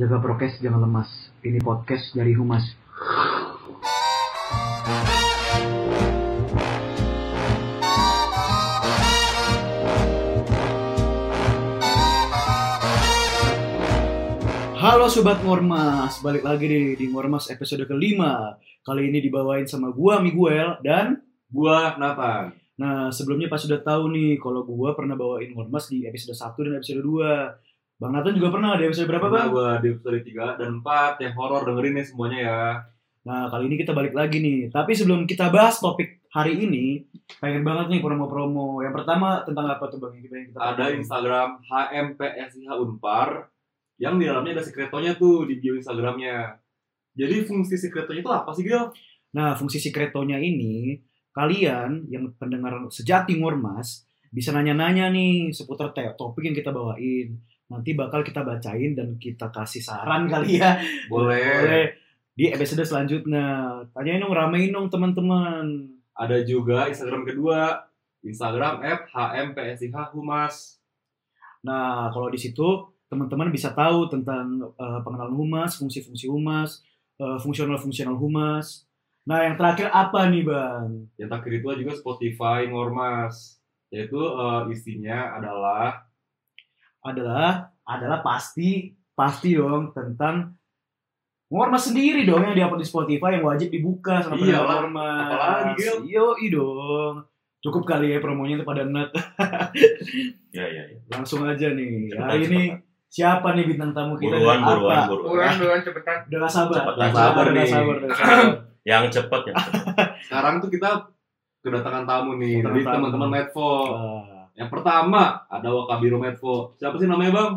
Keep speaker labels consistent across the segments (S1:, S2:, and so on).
S1: Jaga prokes, jangan lemas. Ini podcast dari Humas. Halo Sobat Ngormas, balik lagi di, di Ngormas episode kelima. Kali ini dibawain sama gua Miguel dan
S2: Gua Nathan.
S1: nah sebelumnya pas sudah tahu nih kalau gua pernah bawain Ngormas di episode 1 dan episode 2. Bang Nathan juga pernah di episode berapa, Bang?
S2: Gua di episode 3 dan 4 yang horor dengerin ya semuanya ya.
S1: Nah, kali ini kita balik lagi nih. Tapi sebelum kita bahas topik hari ini, pengen banget nih promo-promo. Yang pertama tentang apa tuh Bang? Yang kita-
S2: Ada Instagram HMPSIH Unpar yang di dalamnya ada sekretonnya tuh di bio Instagramnya. Jadi fungsi sekretonnya itu apa sih Gil?
S1: Nah, fungsi Secretonya ini, kalian yang pendengar sejati Ngormas, bisa nanya-nanya nih seputar te- topik yang kita bawain. Nanti bakal kita bacain dan kita kasih saran kali ya.
S2: Boleh.
S1: Boleh. Di episode selanjutnya. Tanyain dong, ramein dong teman-teman.
S2: Ada juga Instagram kedua Instagram F HMPSIH Humas.
S1: Nah, kalau di situ teman-teman bisa tahu tentang eh, pengenalan humas, fungsi-fungsi humas, eh, fungsional-fungsional humas. Nah, yang terakhir apa nih, Bang?
S2: Yang tak kedua juga Spotify Ngormas. Yaitu eh, isinya adalah
S1: Adalah adalah pasti pasti dong tentang Ngormas sendiri dong yang diupload di Spotify yang wajib dibuka sama pendengar
S2: Iyalah,
S1: Ngormas.
S2: Iya apalagi, Gil.
S1: Yoi dong. Cukup kali ya promonya pada net.
S3: Ya ya ya.
S1: Langsung aja nih.
S3: Cepetan,
S1: Hari Ya, ini siapa nih bintang tamu kita?
S3: Buruan
S1: dan
S3: buruan
S1: apa?
S3: buruan.
S4: Buruan, buruan cepetan.
S1: Udah gak sabar.
S3: Cepetan,
S1: Udah
S2: sabar
S1: udah
S2: nih.
S1: sabar, udah sabar.
S3: Yang cepet
S1: Ah.
S3: ya.
S2: sekarang tuh kita kedatangan tamu nih
S1: Kedatangan
S2: dari
S1: tamu.
S2: teman-teman Medfo.
S1: Ah.
S2: Yang pertama ada Wakabiro Medfo. Siapa sih namanya bang?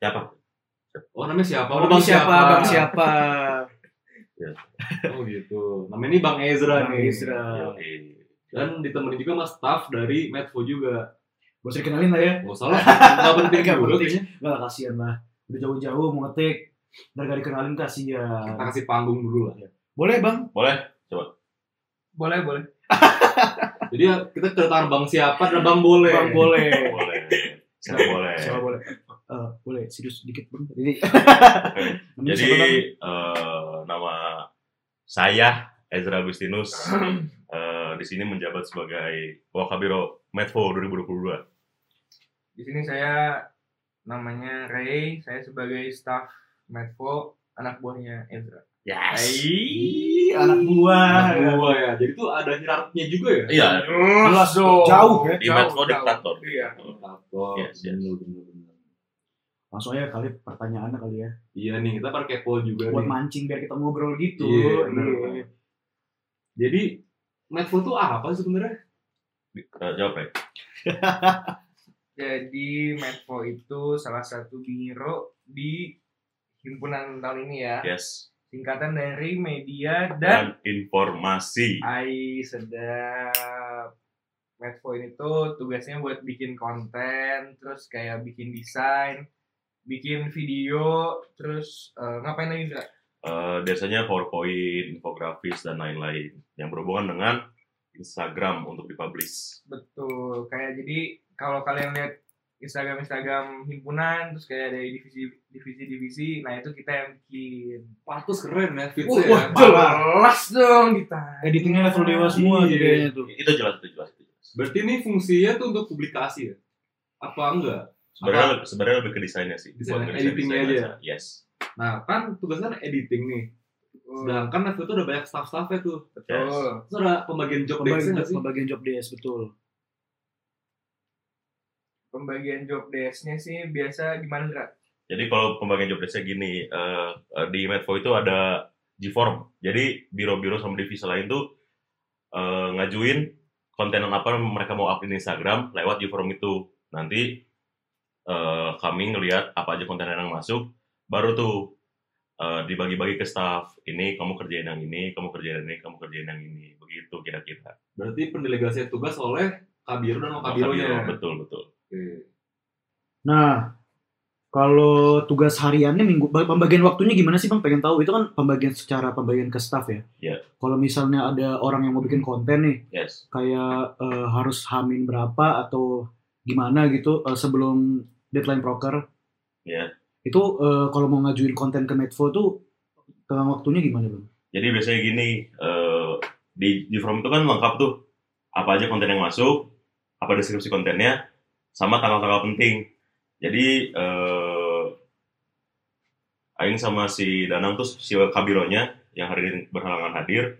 S3: Siapa?
S2: Oh namanya siapa?
S1: Oh, bang siapa? Bang siapa?
S2: Oh gitu. Namanya ini Bang Ezra
S1: Bang
S2: nih.
S1: Ezra.
S3: Yoi.
S2: Dan ditemani juga mas staff dari Medfo juga.
S1: Gak usah dikenalin lah ya.
S2: Gak usah lah. Gak penting
S1: Nggak
S2: juga
S1: penting.
S2: kayaknya.
S1: Gak lah, kasihan lah. Udah jauh-jauh mau ngetik. Ntar gak dikenalin kasihan.
S2: Kita kasih panggung dulu lah.
S1: Boleh bang?
S3: Boleh.
S4: Boleh, boleh.
S2: Jadi ya, kita kedatangan Bang siapa dan Bang Boleh.
S1: Bang boleh.
S3: Boleh. Siapa boleh.
S1: Siapa boleh? Eh, boleh, serius sedikit bang. Jadi, Namanya
S3: Jadi
S1: siapa, Bang?
S3: eh, nama saya Ezra Agustinus
S4: Hmm.
S3: eh, di sini menjabat sebagai Wakabiro Medfo 2022.
S4: Di sini saya namanya Ray, saya sebagai staff Medfo, anak buahnya Ezra.
S1: Ih, anak buah.
S2: Anak gua ya. Jadi tuh ada hierarkinya juga ya.
S3: Iya,
S4: Jelas dong.
S1: Jauh, ya?
S3: di Medfo
S4: Jauh, jauh.
S3: diktator.
S4: Iya.
S2: Diktator.
S3: Yes, yes.
S2: Bener, bener, bener.
S1: Langsung aja kali pertanyaannya kali ya.
S2: Iya nih, kita pakai kepo juga
S1: Buat
S2: nih.
S1: mancing biar kita ngobrol gitu.
S2: Iya, bener,
S1: Iya.
S2: bener. Jadi Medfo tuh apa sih sebenarnya?
S3: Eh, jawab ya.
S4: Jadi Medfo itu salah satu biro di himpunan tahun ini ya.
S3: Yes.
S4: Singkatan dari media dan
S3: Dan informasi.
S4: AI sedap. Medfo ini tuh tugasnya buat bikin konten, terus kayak bikin desain, bikin video, terus eh, ngapain lagi Zra?
S3: Eh, biasanya PowerPoint, infografis dan lain-lain yang berhubungan dengan Instagram untuk dipublish.
S4: Betul, kayak jadi kalau kalian lihat Instagram Instagram himpunan, terus kayak dari divisi divisi divisi, nah itu kita yang bikin.
S2: Patus keren ya,
S1: Wah,
S2: fitnya ya.
S1: wah, jelas.
S4: Jelas dong kita.
S1: Editingnya level dewa semua gitu ya. tuh
S2: Iya.
S1: kayaknya tuh.
S3: itu jelas itu jelas itu jelas.
S2: Berarti ini fungsinya tuh untuk publikasi ya? Apa enggak?
S3: sebenarnya lebih, sebenarnya lebih ke desainnya sih
S2: Desain,
S3: Bukan ke
S2: editingnya
S3: desain-desain aja. yes
S2: Nah, kan tugasnya kan editing nih. Sedangkan Netflix tuh ada banyak staff-staffnya tuh.
S3: Hmm. yes
S4: Betul.
S2: Terus ada pembagian job desk nggak sih?
S1: Pembagian job desk betul.
S4: Pembagian job desk-nya sih biasa gimana Zra?
S3: jadi kalau pembagian job desk-nya gini eh, eh, di Medfo itu ada G-form jadi biro-biro sama divisi lain tuh eh, ngajuin konten apa mereka mau upload di Instagram lewat G-form itu nanti eh, kami ngelihat apa aja konten yang masuk baru tuh eh, dibagi-bagi ke staff ini kamu kerjain yang ini kamu kerjain yang ini kamu kerjain yang ini begitu kira-kira
S2: Berarti pendelegasian tugas oleh Kabiro dan Wakabiro ya.
S3: betul betul
S1: Nah, kalau tugas hariannya minggu pembagian waktunya gimana sih Bang? Pengen tahu. Itu kan pembagian secara pembagian ke staff ya.
S3: Iya.
S1: Kalau misalnya ada orang yang mau bikin konten nih,
S3: yes
S1: kayak eh, harus hamin berapa atau gimana gitu eh, sebelum deadline proker.
S3: Iya.
S1: Itu eh, kalau mau ngajuin konten ke Medfo tuh tengah waktunya gimana bang?
S3: Jadi biasanya gini, eh, di, di form itu kan lengkap tuh. Apa aja konten yang masuk, apa deskripsi kontennya, sama tanggal-tanggal penting. Jadi, eh, Aing sama si Danang tuh si Kabironya yang hari ini berhalangan hadir,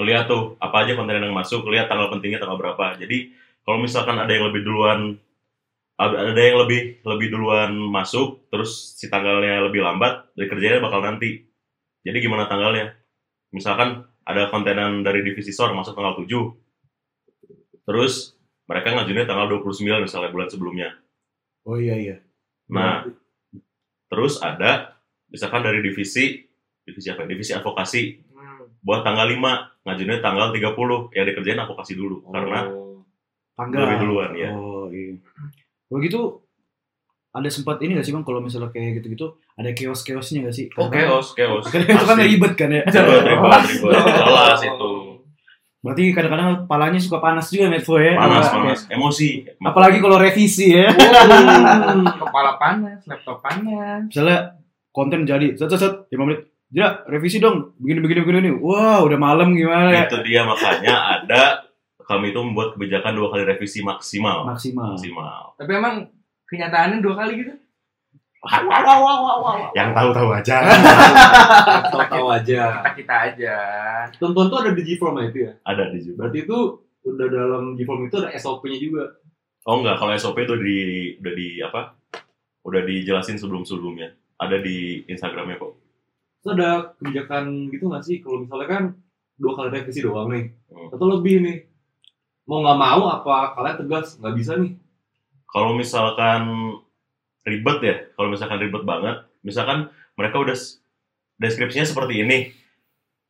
S3: ngeliat tuh apa aja konten yang masuk, lihat tanggal pentingnya tanggal berapa. Jadi, kalau misalkan ada yang lebih duluan ada ada yang lebih lebih duluan masuk, terus si tanggalnya lebih lambat, dari kerjanya bakal nanti. Jadi gimana tanggalnya? Misalkan ada kontenan dari divisi SOR masuk tanggal 7. Terus mereka ngajuinnya tanggal 29 misalnya bulan sebelumnya.
S1: Oh iya iya.
S3: Nah, terus ada misalkan dari divisi divisi apa? ya? Divisi advokasi
S4: Hmm.
S3: buat tanggal 5 ngajuinnya tanggal 30 yang dikerjain advokasi dulu
S1: Oh.
S3: karena
S2: Oh.
S1: Tanggal.
S3: Lebih duluan, ya.
S1: Oh iya. Kalau gitu ada sempat ini gak sih bang kalau misalnya kayak gitu-gitu ada kios-kiosnya gak sih?
S3: oh chaos, chaos. Iya,
S1: Karena itu kan
S3: Asli.
S1: ribet kan ya.
S3: Ribet, ribet, ribet. Jelas itu.
S1: Berarti kadang-kadang palanya suka panas juga Medfo ya.
S3: Panas,
S1: Apa-
S3: panas. Emosi.
S1: Apalagi kalau revisi ya.
S4: kepala panas laptop panas
S1: misalnya konten jadi set set set 5 menit ya revisi dong begini begini begini begini. wah udah malam gimana ya
S3: itu dia makanya ada kami itu membuat kebijakan dua kali revisi maksimal
S1: maksimal
S3: maksimal
S4: tapi emang kenyataannya dua kali gitu
S3: yang tahu-tahu aja
S2: Tahu-tahu aja.
S4: kita kita aja
S2: Tentuan tuh ada di G-Form ya itu ya.
S3: ada di juga
S2: Berarti itu udah dalam G-Form itu ada SOP-nya juga.
S3: oh enggak kalau SOP itu di udah di apa udah dijelasin sebelum-sebelumnya ada di Instagramnya kok
S2: Terus ada kebijakan gitu nggak sih? Kalau misalnya kan dua kali revisi doang nih,
S3: Hmm.
S2: atau lebih nih. Mau nggak mau apa kalian tegas nggak bisa nih?
S3: kalau misalkan ribet ya kalau misalkan ribet banget misalkan mereka udah s- deskripsinya seperti ini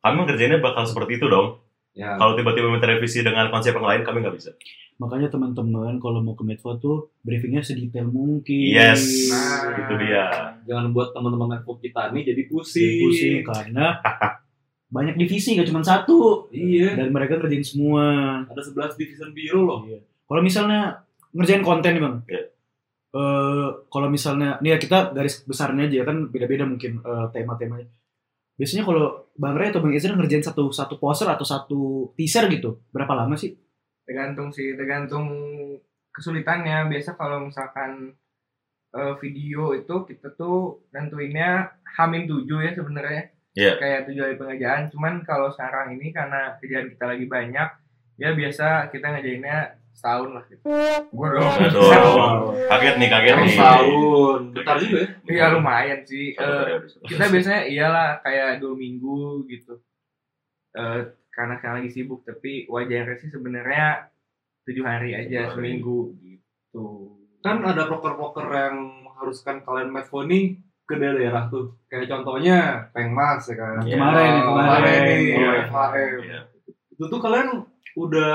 S3: kami kerjanya bakal seperti itu dong
S2: Ya.
S3: kalau tiba-tiba minta revisi dengan konsep yang lain kami nggak bisa
S1: makanya teman-teman kalau mau ke Medfo tuh briefingnya sedetail mungkin
S3: Yes.
S1: Nah,
S3: Itu dia.
S2: Jangan buat teman-teman network kita nih jadi pusing.
S1: pusing karena banyak divisi gak cuma satu
S2: Iya.
S1: dan mereka kerjain semua
S2: Ada 11 division biru loh.
S1: Iya. kalau misalnya ngerjain konten nih bang
S3: Iya.
S1: Eh, kalau misalnya nih ya kita garis besarnya aja ya, kan beda-beda mungkin eh, tema-temanya biasanya kalau bang Ray atau bang Ezra ngerjain satu satu poster atau satu teaser gitu berapa lama sih
S4: tergantung sih tergantung kesulitannya biasa kalau misalkan eh, video itu kita tuh tentuinnya hamin tujuh ya sebenarnya
S3: Iya.
S4: kayak tujuh hari pengerjaan cuman kalau sekarang ini karena kerjaan kita lagi banyak ya biasa kita ngejainnya setahun lah gitu. Gua dong.
S3: Aduh. kaget nih kaget
S4: Harus
S3: nih
S2: Setahun. Bentar juga ya.
S4: Iya lumayan sih.
S3: Satu
S4: Eh,
S3: periode.
S4: kita biasanya iyalah kayak dua minggu gitu Eh karena sekarang lagi sibuk tapi wajarnya sih sebenarnya tujuh hari
S3: Tujuh
S4: aja
S3: hari.
S4: seminggu gitu
S2: Kan ada proker-proker yang mengharuskan kalian metfo nih ke daerah tuh. Kayak contohnya Pengmas ya kan.
S1: kemarin
S3: Iya.
S1: ya, kemarin,
S2: Kemarin nih,
S1: Iya.
S2: FHM.
S3: Iya.
S2: itu tuh kalian udah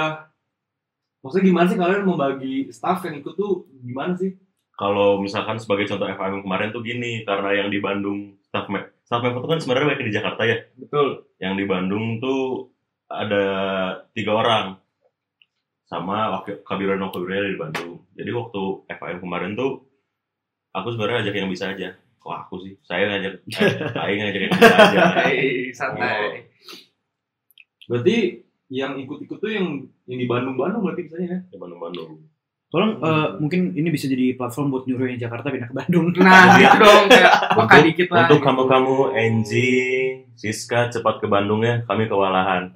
S2: maksudnya gimana sih kalian membagi staff yang ikut tuh gimana sih?
S3: Kalau misalkan sebagai contoh FIM kemarin tuh gini, karena yang di Bandung staff me- staff member itu kan sebenarnya banyak di Jakarta ya.
S2: Betul.
S3: Yang di Bandung tuh ada tiga orang sama wakil kabiruan kabiruan dari Bandung. Jadi waktu FIM kemarin tuh aku sebenarnya ajak yang bisa aja. Kok aku sih? Saya ngajak, saya ngajak yang bisa aja.
S4: Hei, santai
S2: Berarti yang ikut-ikut tuh yang yang di Bandung-Bandung berarti misalnya ya.
S3: Di Bandung-Bandung.
S1: tolong
S2: Hmm.
S1: eh, mungkin ini bisa jadi platform buat nyuruh yang Jakarta pindah ke
S2: Iya.
S1: Bandung
S4: nah gitu dong kayak gua
S3: Untuk-
S4: dikit lah
S3: Untuk
S4: gitu.
S3: kamu-kamu, Angie, Siska, cepat ke Bandung ya. Kami kewalahan.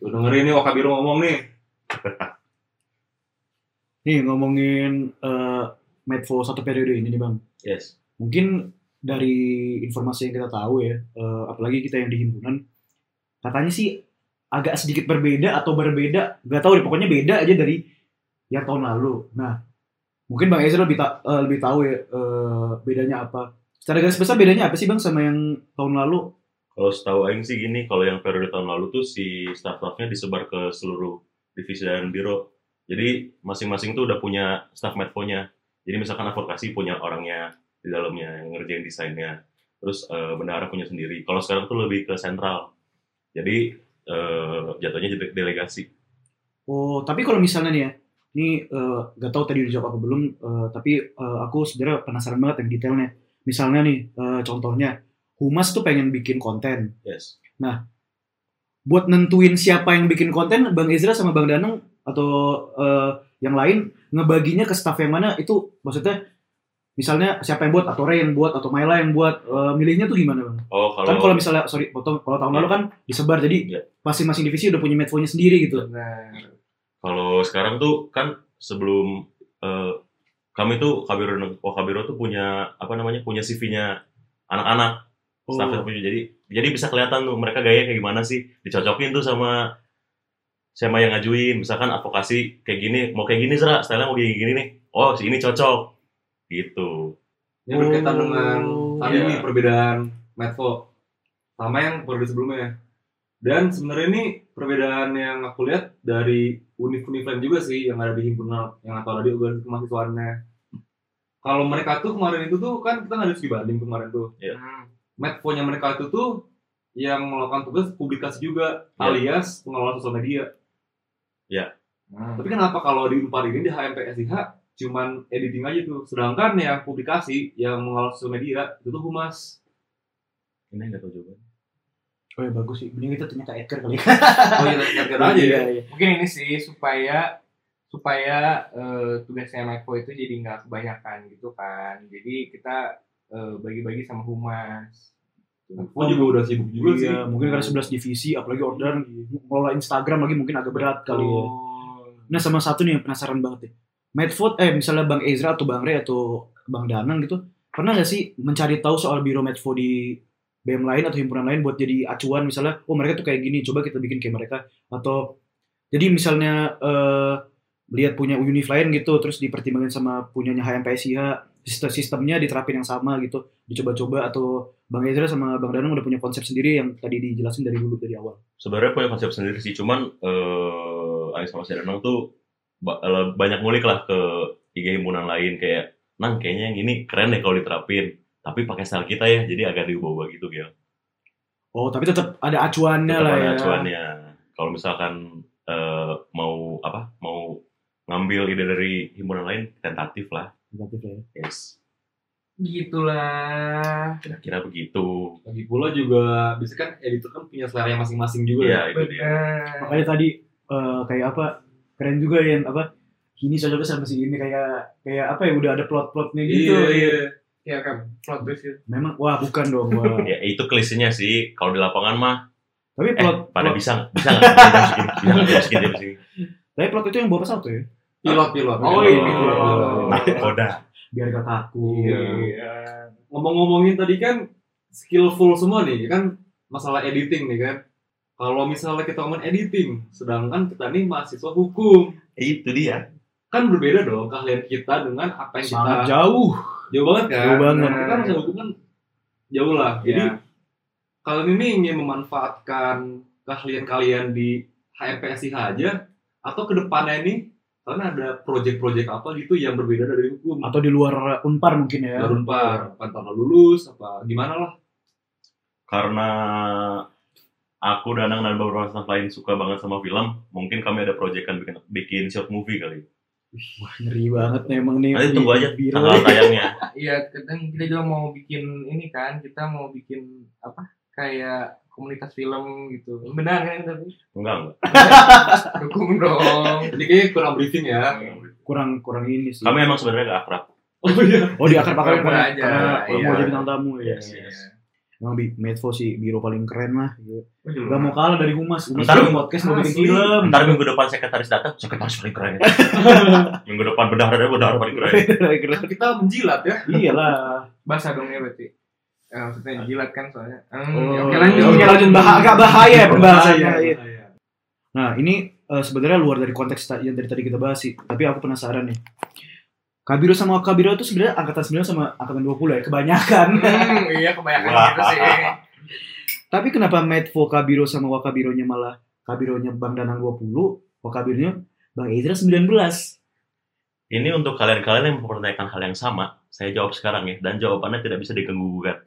S2: Tuh dengerin nih Wakabiru ngomong nih.
S1: nih ngomongin eh, Medfo satu periode ini nih bang
S3: Yes.
S1: mungkin dari informasi yang kita tahu ya eh, apalagi kita yang di himpunan katanya sih agak sedikit berbeda atau berbeda nggak tahu deh pokoknya beda aja dari yang tahun lalu nah mungkin bang Ezra lebih ta- eh, lebih tahu ya eh, bedanya apa secara garis besar bedanya apa sih bang sama yang tahun lalu
S3: Kalau setahu Aing sih gini, kalau yang periode tahun lalu tuh si staff-staffnya disebar ke seluruh divisi dan biro. Jadi masing-masing tuh udah punya staff medfo-nya. Jadi misalkan advokasi punya orangnya di dalamnya yang ngerjain desainnya. Terus eh, bendahara punya sendiri. Kalau sekarang tuh lebih ke sentral. Jadi eh, jatuhnya jadi delegasi.
S1: oh tapi kalau misalnya nih ya ini eh, nggak tahu tadi udah jawab apa belum eh, tapi eh, aku sebenarnya penasaran banget yang detailnya misalnya nih eh, contohnya humas tuh pengen bikin konten
S3: Yes.
S1: buat nentuin siapa yang bikin konten bang Ezra sama bang Danang atau eh, yang lain ngebaginya ke staff yang mana itu maksudnya misalnya siapa yang buat atau Ray yang buat atau Myla yang buat eh, milihnya tuh gimana bang?
S3: Oh
S1: kan kalau
S3: kalau
S1: misalnya sorry potong kalau tahun
S3: Iya.
S1: lalu kan disebar jadi
S3: Iya.
S1: masing-masing divisi udah punya medfonya sendiri
S4: Iya.
S1: gitu
S4: Benar.
S3: kalau sekarang tuh kan sebelum eh, kami tuh Kabiro Wakabiro tuh punya apa namanya punya CV-nya anak-anak
S1: Oh,
S3: staff yang punya jadi jadi bisa kelihatan tuh mereka gaya kayak gimana sih dicocokin tuh sama sama yang ngajuin misalkan advokasi kayak gini mau kayak gini Zra stylenya mau kayak gini nih oh si ini cocok gitu
S2: Yang berkaitan
S1: Oh,
S2: dengan tadi
S3: iya.
S2: nih perbedaan medfo sama yang periode sebelumnya. Dan sebenarnya ini perbedaan yang aku lihat dari univ-univ lain juga sih yang ada di himpunan yang atau ada di organisasi kemahasiswaannya. Kalau mereka tuh kemarin itu tuh kan kita nggak ada studi banding kemarin tuh.
S3: Iya.
S4: Hmm.
S2: Medfo-nya mereka itu tuh yang melakukan tugas publikasi juga
S3: Iya.
S2: alias pengelolaan sosial media.
S4: Hmm.
S2: Tapi kenapa kalau di Unpar ini di HMPSIH cuman editing aja tuh, sedangkan yang publikasi yang mengelola sosial media itu tuh humas.
S3: ini nggak tahu jawaban
S1: oh ya bagus sih mending kita tanya ke Edgar kali
S2: Oh iya, lihat aja ya.
S1: iya.
S4: Mungkin ini sih supaya supaya eh, tugasnya Mako itu jadi nggak kebanyakan gitu kan. Jadi kita eh, bagi-bagi sama humas.
S2: Gue juga udah sibuk juga sih.
S1: Iya, mungkin karena 11 divisi apalagi orderan ngelola Instagram lagi mungkin agak berat kali ya
S4: Oh.
S1: Nah sama satu nih yang penasaran banget nih. Medfood, eh misalnya Bang Ezra atau Bang Rey atau Bang Danang gitu, pernah nggak sih mencari tahu soal biro Medfood di BM lain atau himpunan lain buat jadi acuan misalnya, oh mereka tuh kayak gini, coba kita bikin kayak mereka atau jadi misalnya eh lihat punya univ lain gitu, terus dipertimbangin sama punyanya HMPSIH, sistem sistemnya diterapin yang sama gitu, dicoba-coba atau Bang Ezra sama Bang Danang udah punya konsep sendiri yang tadi dijelasin dari dulu dari awal.
S3: sebenarnya punya konsep sendiri sih cuman eh Anies sama si Danang tuh ba- eh, banyak ngulik lah ke IG himpunan lain kayak nang kayaknya yang ini keren deh kalau diterapin tapi pakai style kita ya jadi agak diubah-ubah gitu Gil
S1: Oh tapi tetap ada acuannya
S3: Tetap
S1: lah
S3: ada
S1: ya.
S3: acuannya. Kalau misalkan eh, mau apa mau ngambil ide dari himpunan lain tentatif lah.
S1: Negatif ya.
S3: Yes.
S4: Gitulah.
S3: Kira-kira begitu.
S2: Lagi pula juga, biasanya kan editor kan punya selera masing-masing juga ya.
S3: Iya itu
S4: gitu
S3: dia.
S4: Benar.
S1: makanya tadi eh, kayak apa keren juga yang apa ini cocoknya sama si ini kayak kayak apa ya udah ada plot-plotnya gitu
S3: Iya,
S4: Ya kan plot twist gitu.
S1: memang wah bukan dong wah.
S3: Ya itu klisenya sih. Kalau di lapangan mah
S1: tapi
S3: eh
S1: plot,
S3: pada
S1: plot-
S3: bisa nggak? Bisa nggak? Bisa nggak masukin? Bisa nggak masukin jam segini?
S1: tapi plot itu yang bawa satu ya
S2: Pilot, iya, pilot.
S1: Oh,
S3: Oh,
S1: ini
S3: oh,
S1: tuh.
S3: Nakoda.
S1: biar gak kaku
S2: Iya.
S4: Iya.
S2: Ngomong-ngomongin tadi kan skillful semua nih, kan masalah editing nih kan. Kalau misalnya kita ngomongin editing, sedangkan kita nih mahasiswa hukum,
S3: Eh, Itu dia.
S2: kan berbeda dong keahlian kita dengan apa yang kita
S1: sangat jauh
S2: jauh banget kan
S1: Jauh banget.
S2: Nah, kita masih hukum kan jauh lah jadi kalian ini ingin memanfaatkan keahlian kalian di HMPSIH aja atau kedepannya ini kalian ada project-project apa gitu yang berbeda dari hukum
S1: atau di luar unpar mungkin ya
S2: baru par apa ntar lo lulus apa gimana lah
S3: Karena aku Danang dan beberapa staff lain suka banget sama film, mungkin kami ada proyekan bikin bikin short movie kali.
S1: wah ngeri banget nih emang nih
S3: Nanti tunggu aja
S1: biro
S3: tanggal tayangnya.
S4: Iya, kadang kita juga mau bikin ini kan, kita mau bikin apa? Kayak komunitas film gitu. Benar kan tapi
S3: Enggak enggak.
S4: dukung dong.
S2: ini kayaknya kurang briefing ya
S4: Iya.
S1: kurang kurang ini sih
S3: Kami emang sebenarnya gak akrab.
S2: oh iya
S1: oh di akar pakar
S4: Kurang
S1: karena,
S4: aja,
S1: karena mau
S3: iya.
S1: jadi bintang tamu ya
S3: Yes, yes.
S1: emang bi Medfo sih biro paling keren lah
S4: Betul.
S1: gak mau kalah dari humas humas
S3: Ntar-
S1: bikin podcast mau bikin
S4: Asli.
S1: film
S3: Ntar minggu depan sekretaris datang, sekretaris paling keren. minggu depan bedah ada bedah paling keren.
S2: Kan kita menjilat ya
S1: iyalah
S4: Basah dong ya berarti. Eh, maksudnya jilat kan soalnya. Hmm,
S1: Oh,
S4: ya
S1: oke
S4: oke
S1: lanjut,
S4: lanjut.
S1: oke lanjut. Bah- agak bahaya ya pembahasannya.
S2: Bahaya,
S1: Iya.
S2: bahaya.
S1: Nah ini eh, sebenarnya luar dari konteks ta- yang dari tadi kita bahas sih, tapi aku penasaran nih. Kabiro sama Kabiro itu sebenarnya angkatan 9 sama angkatan 20 ya, kebanyakan.
S4: Hmm, iya kebanyakan
S3: Wah.
S4: gitu sih.
S1: tapi kenapa Medfo Kabiro sama Wakabironya malah Kabironya Bang Danang 20, Wakabironya Bang Ezra 19.
S3: Ini untuk kalian-kalian yang mempertanyakan hal yang sama, saya jawab sekarang ya, dan jawabannya tidak bisa diganggu gugat.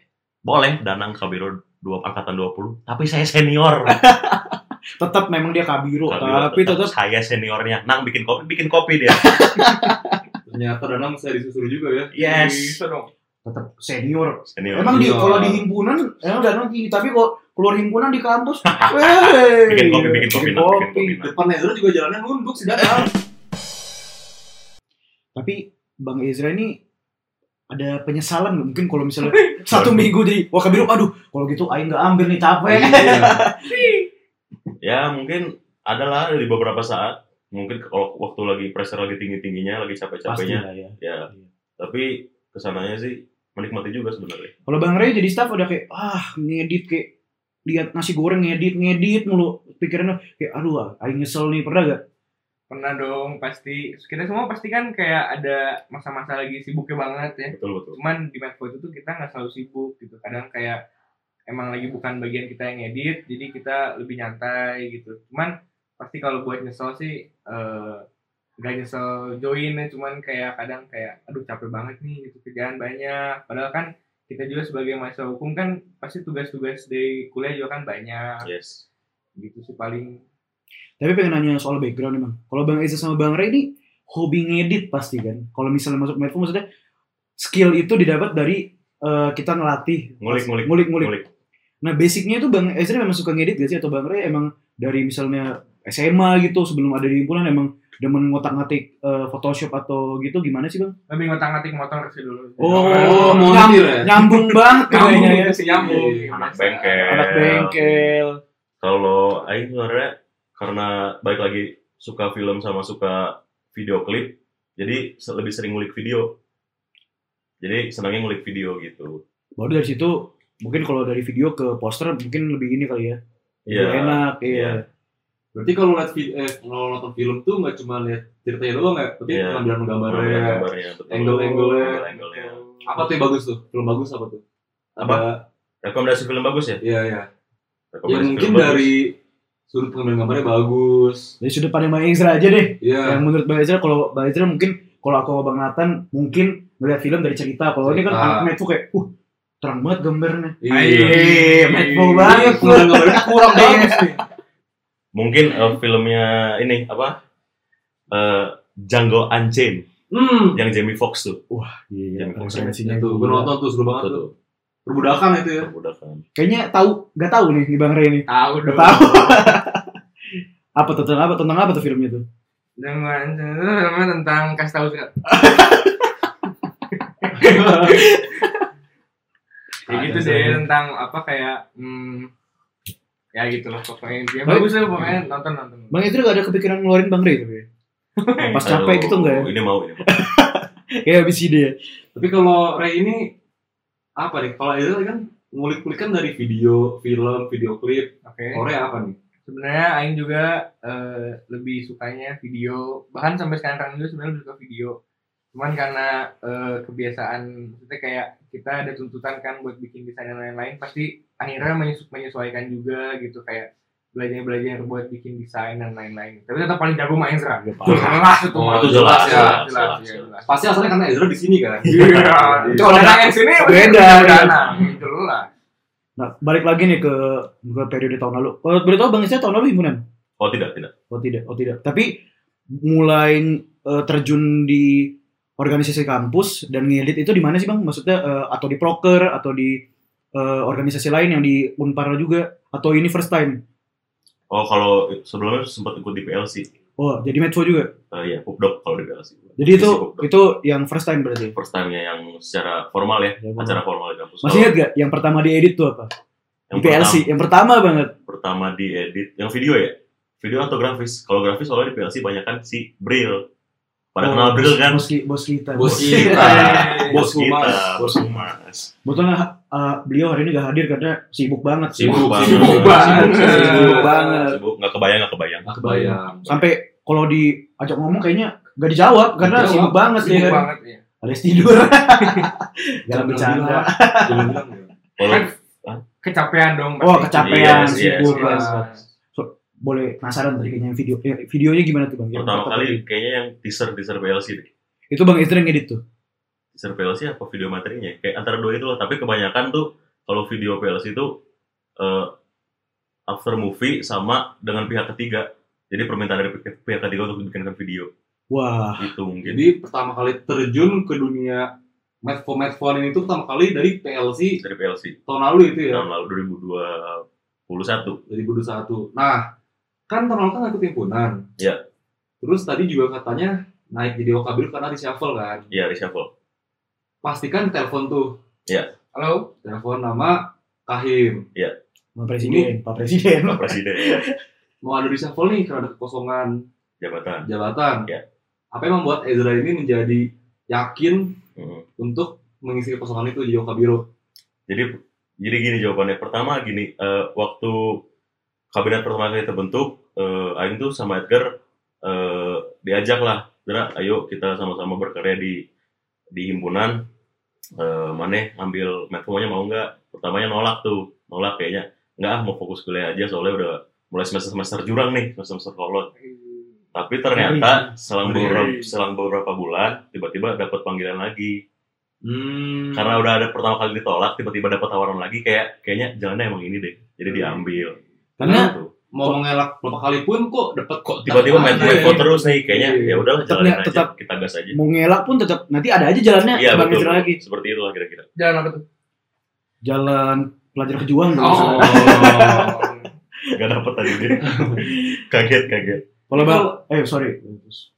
S3: Boleh, Danang Kabiro dua angkatan 20, tapi saya senior.
S1: tetap memang dia kabiro,
S3: Kalau
S1: tapi
S3: tetap
S1: tetap
S3: saya seniornya. Nang bikin kopi, bikin kopi dia.
S2: Ternyata Danang saya disusuri juga ya.
S3: Yes.
S4: Bisa dong.
S1: tetap senior.
S3: Senior.
S1: Emang di
S2: Iya.
S1: kalau di himpunan ya udah nanti tapi kalau keluar himpunan di kampus, wey,
S3: Bikin kopi, bikin kopi, Nang, bikin kopi. Nang.
S2: Depan Ezra juga jalannya nunduk sih Danang.
S1: Tapi Bang Ezra ini ada penyesalan nggak? mungkin kalau misalnya satu minggu jadi wah kabiro aduh kalau gitu aing nggak ambil nih capek
S2: Iya.
S3: Ya mungkin adalah di beberapa saat. Mungkin kalau waktu lagi pressure lagi tinggi-tingginya, lagi capek-capeknya.
S1: lah ya
S3: Ya. Tapi kesananya sih menikmati juga sebenarnya.
S1: kalau bang Ray jadi staff udah kayak ah ngedit kayak lihat nasi goreng ngedit ngedit mulu pikirannya kayak aduh ah, aing nyesel nih pernah gak
S4: Pernah dong pasti. Kita semua pasti kan kayak ada masa-masa lagi sibuknya banget ya.
S3: Betul betul.
S4: Cuman di Medco itu tuh kita nggak selalu sibuk gitu. Kadang kayak emang lagi bukan bagian kita yang edit, jadi kita lebih nyantai gitu. Cuman pasti kalau buat nyesel sih eh gak nyesel join ya, cuman kayak kadang kayak aduh capek banget nih gitu kerjaan banyak. Padahal kan kita juga sebagai mahasiswa hukum kan pasti tugas-tugas di kuliah juga kan banyak
S3: Yes.
S4: gitu sih paling
S1: tapi pengen nanya soal background emang kalau bang Ezra sama bang Ray ini hobi ngedit pasti kan kalau misalnya masuk medco maksudnya skill itu didapat dari eh, kita ngelatih
S3: Ngulik, ngulik.
S1: ngulik ngulik
S3: Ngulik.
S1: Nah basicnya itu Bang Ezra memang suka ngedit gak sih? Atau Bang Ray emang dari misalnya SMA gitu sebelum ada di himpunan emang demen ngotak-ngatik eh, Photoshop atau gitu gimana sih Bang?
S4: lebih ngotak-ngatik motor sih dulu.
S1: Oh,
S2: Oh,
S1: nyam-
S2: montir ya?
S1: nyambung banget
S4: Kamu
S1: kayaknya ya.
S4: Iya, si nyambung.
S3: Anak
S4: Biasa.
S3: bengkel.
S1: Anak bengkel.
S3: Kalau Aing sebenarnya karena baik lagi suka film sama suka video klip, jadi se- lebih sering ngulik video. Jadi senangnya ngulik video gitu.
S1: Baru dari situ mungkin kalau dari video ke poster mungkin lebih ini kali ya. Lebih
S3: Iya.
S1: Enak iya.
S3: Iya.
S2: Berarti kalau lihat vi- eh, kalau nonton film tuh nggak cuma lihat ceritanya doang ya, tapi
S3: Iya.
S2: penampilan gambarnya.
S3: Gambarnya, gambarnya, betul.
S2: Angle-angle-nya.
S3: Angle-angle-nya.
S2: Apa tuh yang bagus tuh? Film bagus apa tuh?
S3: Apa?
S2: Ada,
S3: Rekomendasi film bagus ya?
S2: iya iya. Ya
S3: Rekomendasi
S2: mungkin
S3: film bagus.
S2: dari sudut pengambilan gambarnya bagus.
S1: Dari sudut pandang Bang Ezra aja deh.
S2: Iya.
S1: Yang menurut Bang Ezra kalau Bang Ezra mungkin kalau aku sama Bang Nathan mungkin ngeliat film dari cerita. Kalau ini kan
S2: Cerita.
S1: anak medco kayak uh terang banget gambarnya.
S2: Iya.
S1: Iya, medco banget.
S2: Iya, pengambilan gambarnya kurang bagus nih.
S3: mungkin eh, filmnya ini apa? Eh, Django Unchained
S2: Hmm.
S3: yang Jamie Foxx tuh.
S1: Iya,
S3: Yang
S1: referensinya
S2: Ya tuh, gue
S1: gila.
S2: nonton tuh seru banget
S3: Betul.
S2: tuh. Perbudakan itu ya.
S3: Perbudakan.
S1: Kayaknya tahu, nggak tahu nih di Bang Ray ini.
S4: Tahu
S1: Nggak
S4: dong.
S1: tahu. apa tuh, tentang apa tentang apa tuh filmnya tuh?
S4: Dengan dengan tentang kasih tahu surat. ya gitu
S2: Ada
S4: deh
S2: saya.
S4: tentang apa kayak hmm, ya gitu loh pokoknya dia
S1: Baik.
S4: bagus iya. lah pokoknya nonton nonton.
S1: Bang Ezra nggak ada kepikiran ngeluarin Bang Ray tapi ya? pas capek
S3: Aduh,
S1: gitu nggak ya?
S3: Ini mau ini. mau.
S1: Kayak habis ide ya.
S2: Tapi kalau Ray ini apa nih? Kalau Ezra kan ngulik-ngulik kan dari video, film, video klip.
S4: Oke.
S2: Kalau Ray apa nih?
S4: Sebenarnya Aing juga eh, lebih sukanya video bahkan sampai sekarang juga sebenarnya lebih suka video. Cuman karena eh, kebiasaan maksudnya kayak kita ada tuntutan kan buat bikin desain dan lain-lain pasti akhirnya menyesu- menyesuaikan juga gitu kayak belajar-belajar buat bikin desain dan lain-lain. Tapi tetap paling jago main Ezra.
S1: Nggak apa-apa.
S4: Jelas itu.
S2: Oh,
S4: mah.
S2: itu
S3: jelas,
S4: jelas,
S3: jelas,
S4: jelas,
S3: jelas.
S4: ya, jelas.
S2: Pasti asalnya karena Ezra di sini kan.
S4: Iya,
S2: Iya.
S4: kalau datang yang sini
S1: Beda, iya.
S4: Danang, jelas.
S1: Nah, balik lagi nih ke, ke periode tahun lalu. Kalau boleh tahu Bang Ezra tahun lalu himpunan?
S3: Oh tidak tidak.
S1: Oh tidak, oh tidak. Tapi mulai eh, terjun di organisasi kampus dan ngedit itu di mana sih Bang? Maksudnya eh, atau di proker atau di eh, organisasi lain yang di Unpar juga atau ini first time?
S3: Oh kalau sebelumnya sempat ikut di PLC.
S1: Oh, jadi medso juga.
S3: Eh, ya pupdok kalau di PLC.
S1: Jadi itu
S3: Isi pupdok.
S1: itu yang first time berarti.
S3: first time-nya yang secara formal ya,
S1: Ya,
S3: acara formal di kampus.
S1: Masih ingat gak yang pertama diedit tuh apa?
S3: Yang
S1: di PLC. Yang pertama banget.
S3: Pertama, pertama di edit, yang video ya? Video atau grafis? Kalau grafis soalnya di PLC banyak kan si Bril. Pada
S1: Oh,
S3: kenal Bril kan?
S1: Bos, ki- bos kita.
S2: Bos
S3: kita.
S2: Bos
S3: Bos
S2: Humas.
S3: kita, bos Humas.
S1: Betulnya eh, beliau hari ini gak hadir karena sibuk banget.
S3: Sibuk banget.
S2: sibuk banget.
S3: Sibuk,
S1: Sibuk banget.
S3: Sibuk, nggak kebayang, nggak kebayang.
S2: Nah, kebayang.
S1: Sampai kalau diajak ngomong kayaknya gak dijawab karena
S2: Dijawab.
S1: sibuk banget ya
S4: Sibuk
S1: kan.
S4: banget ya.
S1: Alias tidur. Jangan
S2: Jangan
S1: bercanda.
S2: bilang. Jangan bilang ya.
S1: Kan
S3: Kalau
S4: Kecapean dong.
S1: Oh,
S4: pasti.
S1: kecapean,
S3: Yes,
S1: sibuk.
S3: yes,
S4: Iya.
S1: banget. Boleh penasaran tadi kayaknya yang video eh, videonya gimana tuh Bang? Yang
S3: pertama kali kayaknya yang teaser teaser PLC deh.
S1: Itu Bang Ezra yang ngedit tuh.
S3: Teaser PLC apa video ya? materinya? Kayak antara dua itu loh. Tapi kebanyakan tuh kalau video PLC itu eh after movie sama dengan pihak ketiga. Jadi permintaan dari pihak pihak ketiga untuk bikinkan video
S1: Wah,
S3: itu mungkin.
S2: Jadi pertama kali terjun ke dunia Medfo Medfoan ini tuh pertama kali dari PLC
S3: dari PLC
S2: tahun lalu itu ya,
S3: tahun lalu 2021.
S2: dari 2021. Nah, kan tahun lalu kan ikut himpunan.
S3: Iya.
S2: Terus tadi juga katanya naik jadi Wakabil karena reshuffle kan.
S3: Iya reshuffle.
S2: Pastikan telepon tuh,
S4: Halo,
S2: telepon nama Kahim.
S1: Pak Presiden, Pak Presiden.
S3: Pak Presiden ya,
S2: Mau ada reshuffle nih karena ada kekosongan
S3: jabatan.
S2: jabatan.
S3: Iya.
S2: Apa yang membuat Ezra ini menjadi yakin
S3: Mm.
S2: untuk mengisi kekosongan itu di Wakabiro?
S3: Jadi jadi gini jawabannya. Pertama gini, eh, waktu kabinet pertama kali terbentuk, eh, Aing tuh sama Edgar eh, diajak lah, Dra, ayo kita sama-sama berkarya di di himpunan. Eh, Maneh ambil metode mau nggak? Pertamanya nolak tuh, nolak kayaknya. Nggak ah, mau fokus kuliah aja soalnya udah mulai semester semester jurang nih, semester semester kolot. Tapi ternyata selang beberapa, selang beberapa bulan tiba-tiba dapat panggilan lagi
S2: Hmm.
S3: karena udah ada pertama kali ditolak tiba-tiba dapat tawaran lagi kayak kayaknya jalannya emang ini deh jadi diambil
S1: Karena
S3: Tuh.
S2: mau mengelak berapa kali pun kok dapat kok
S3: tiba-tiba main
S2: Tetap
S3: main
S2: aja.
S3: vote terus nih kayaknya
S2: Iya.
S3: ya udahlah
S1: Tetap
S3: jalanin
S1: nggak-
S3: aja
S1: tetap-
S3: kita gas aja
S1: mau ngelak pun tetap nanti ada aja jalannya
S3: iya
S1: Bang
S3: betul
S1: Ezra lagi.
S3: seperti itulah kira-kira
S4: jalan apa tuh?
S1: Jalan pelajar kejuang kalau nggak
S2: Oh.
S1: salah.
S3: nggak dapet tadi dia kaget kaget
S1: Kalau Bang, eh sorry.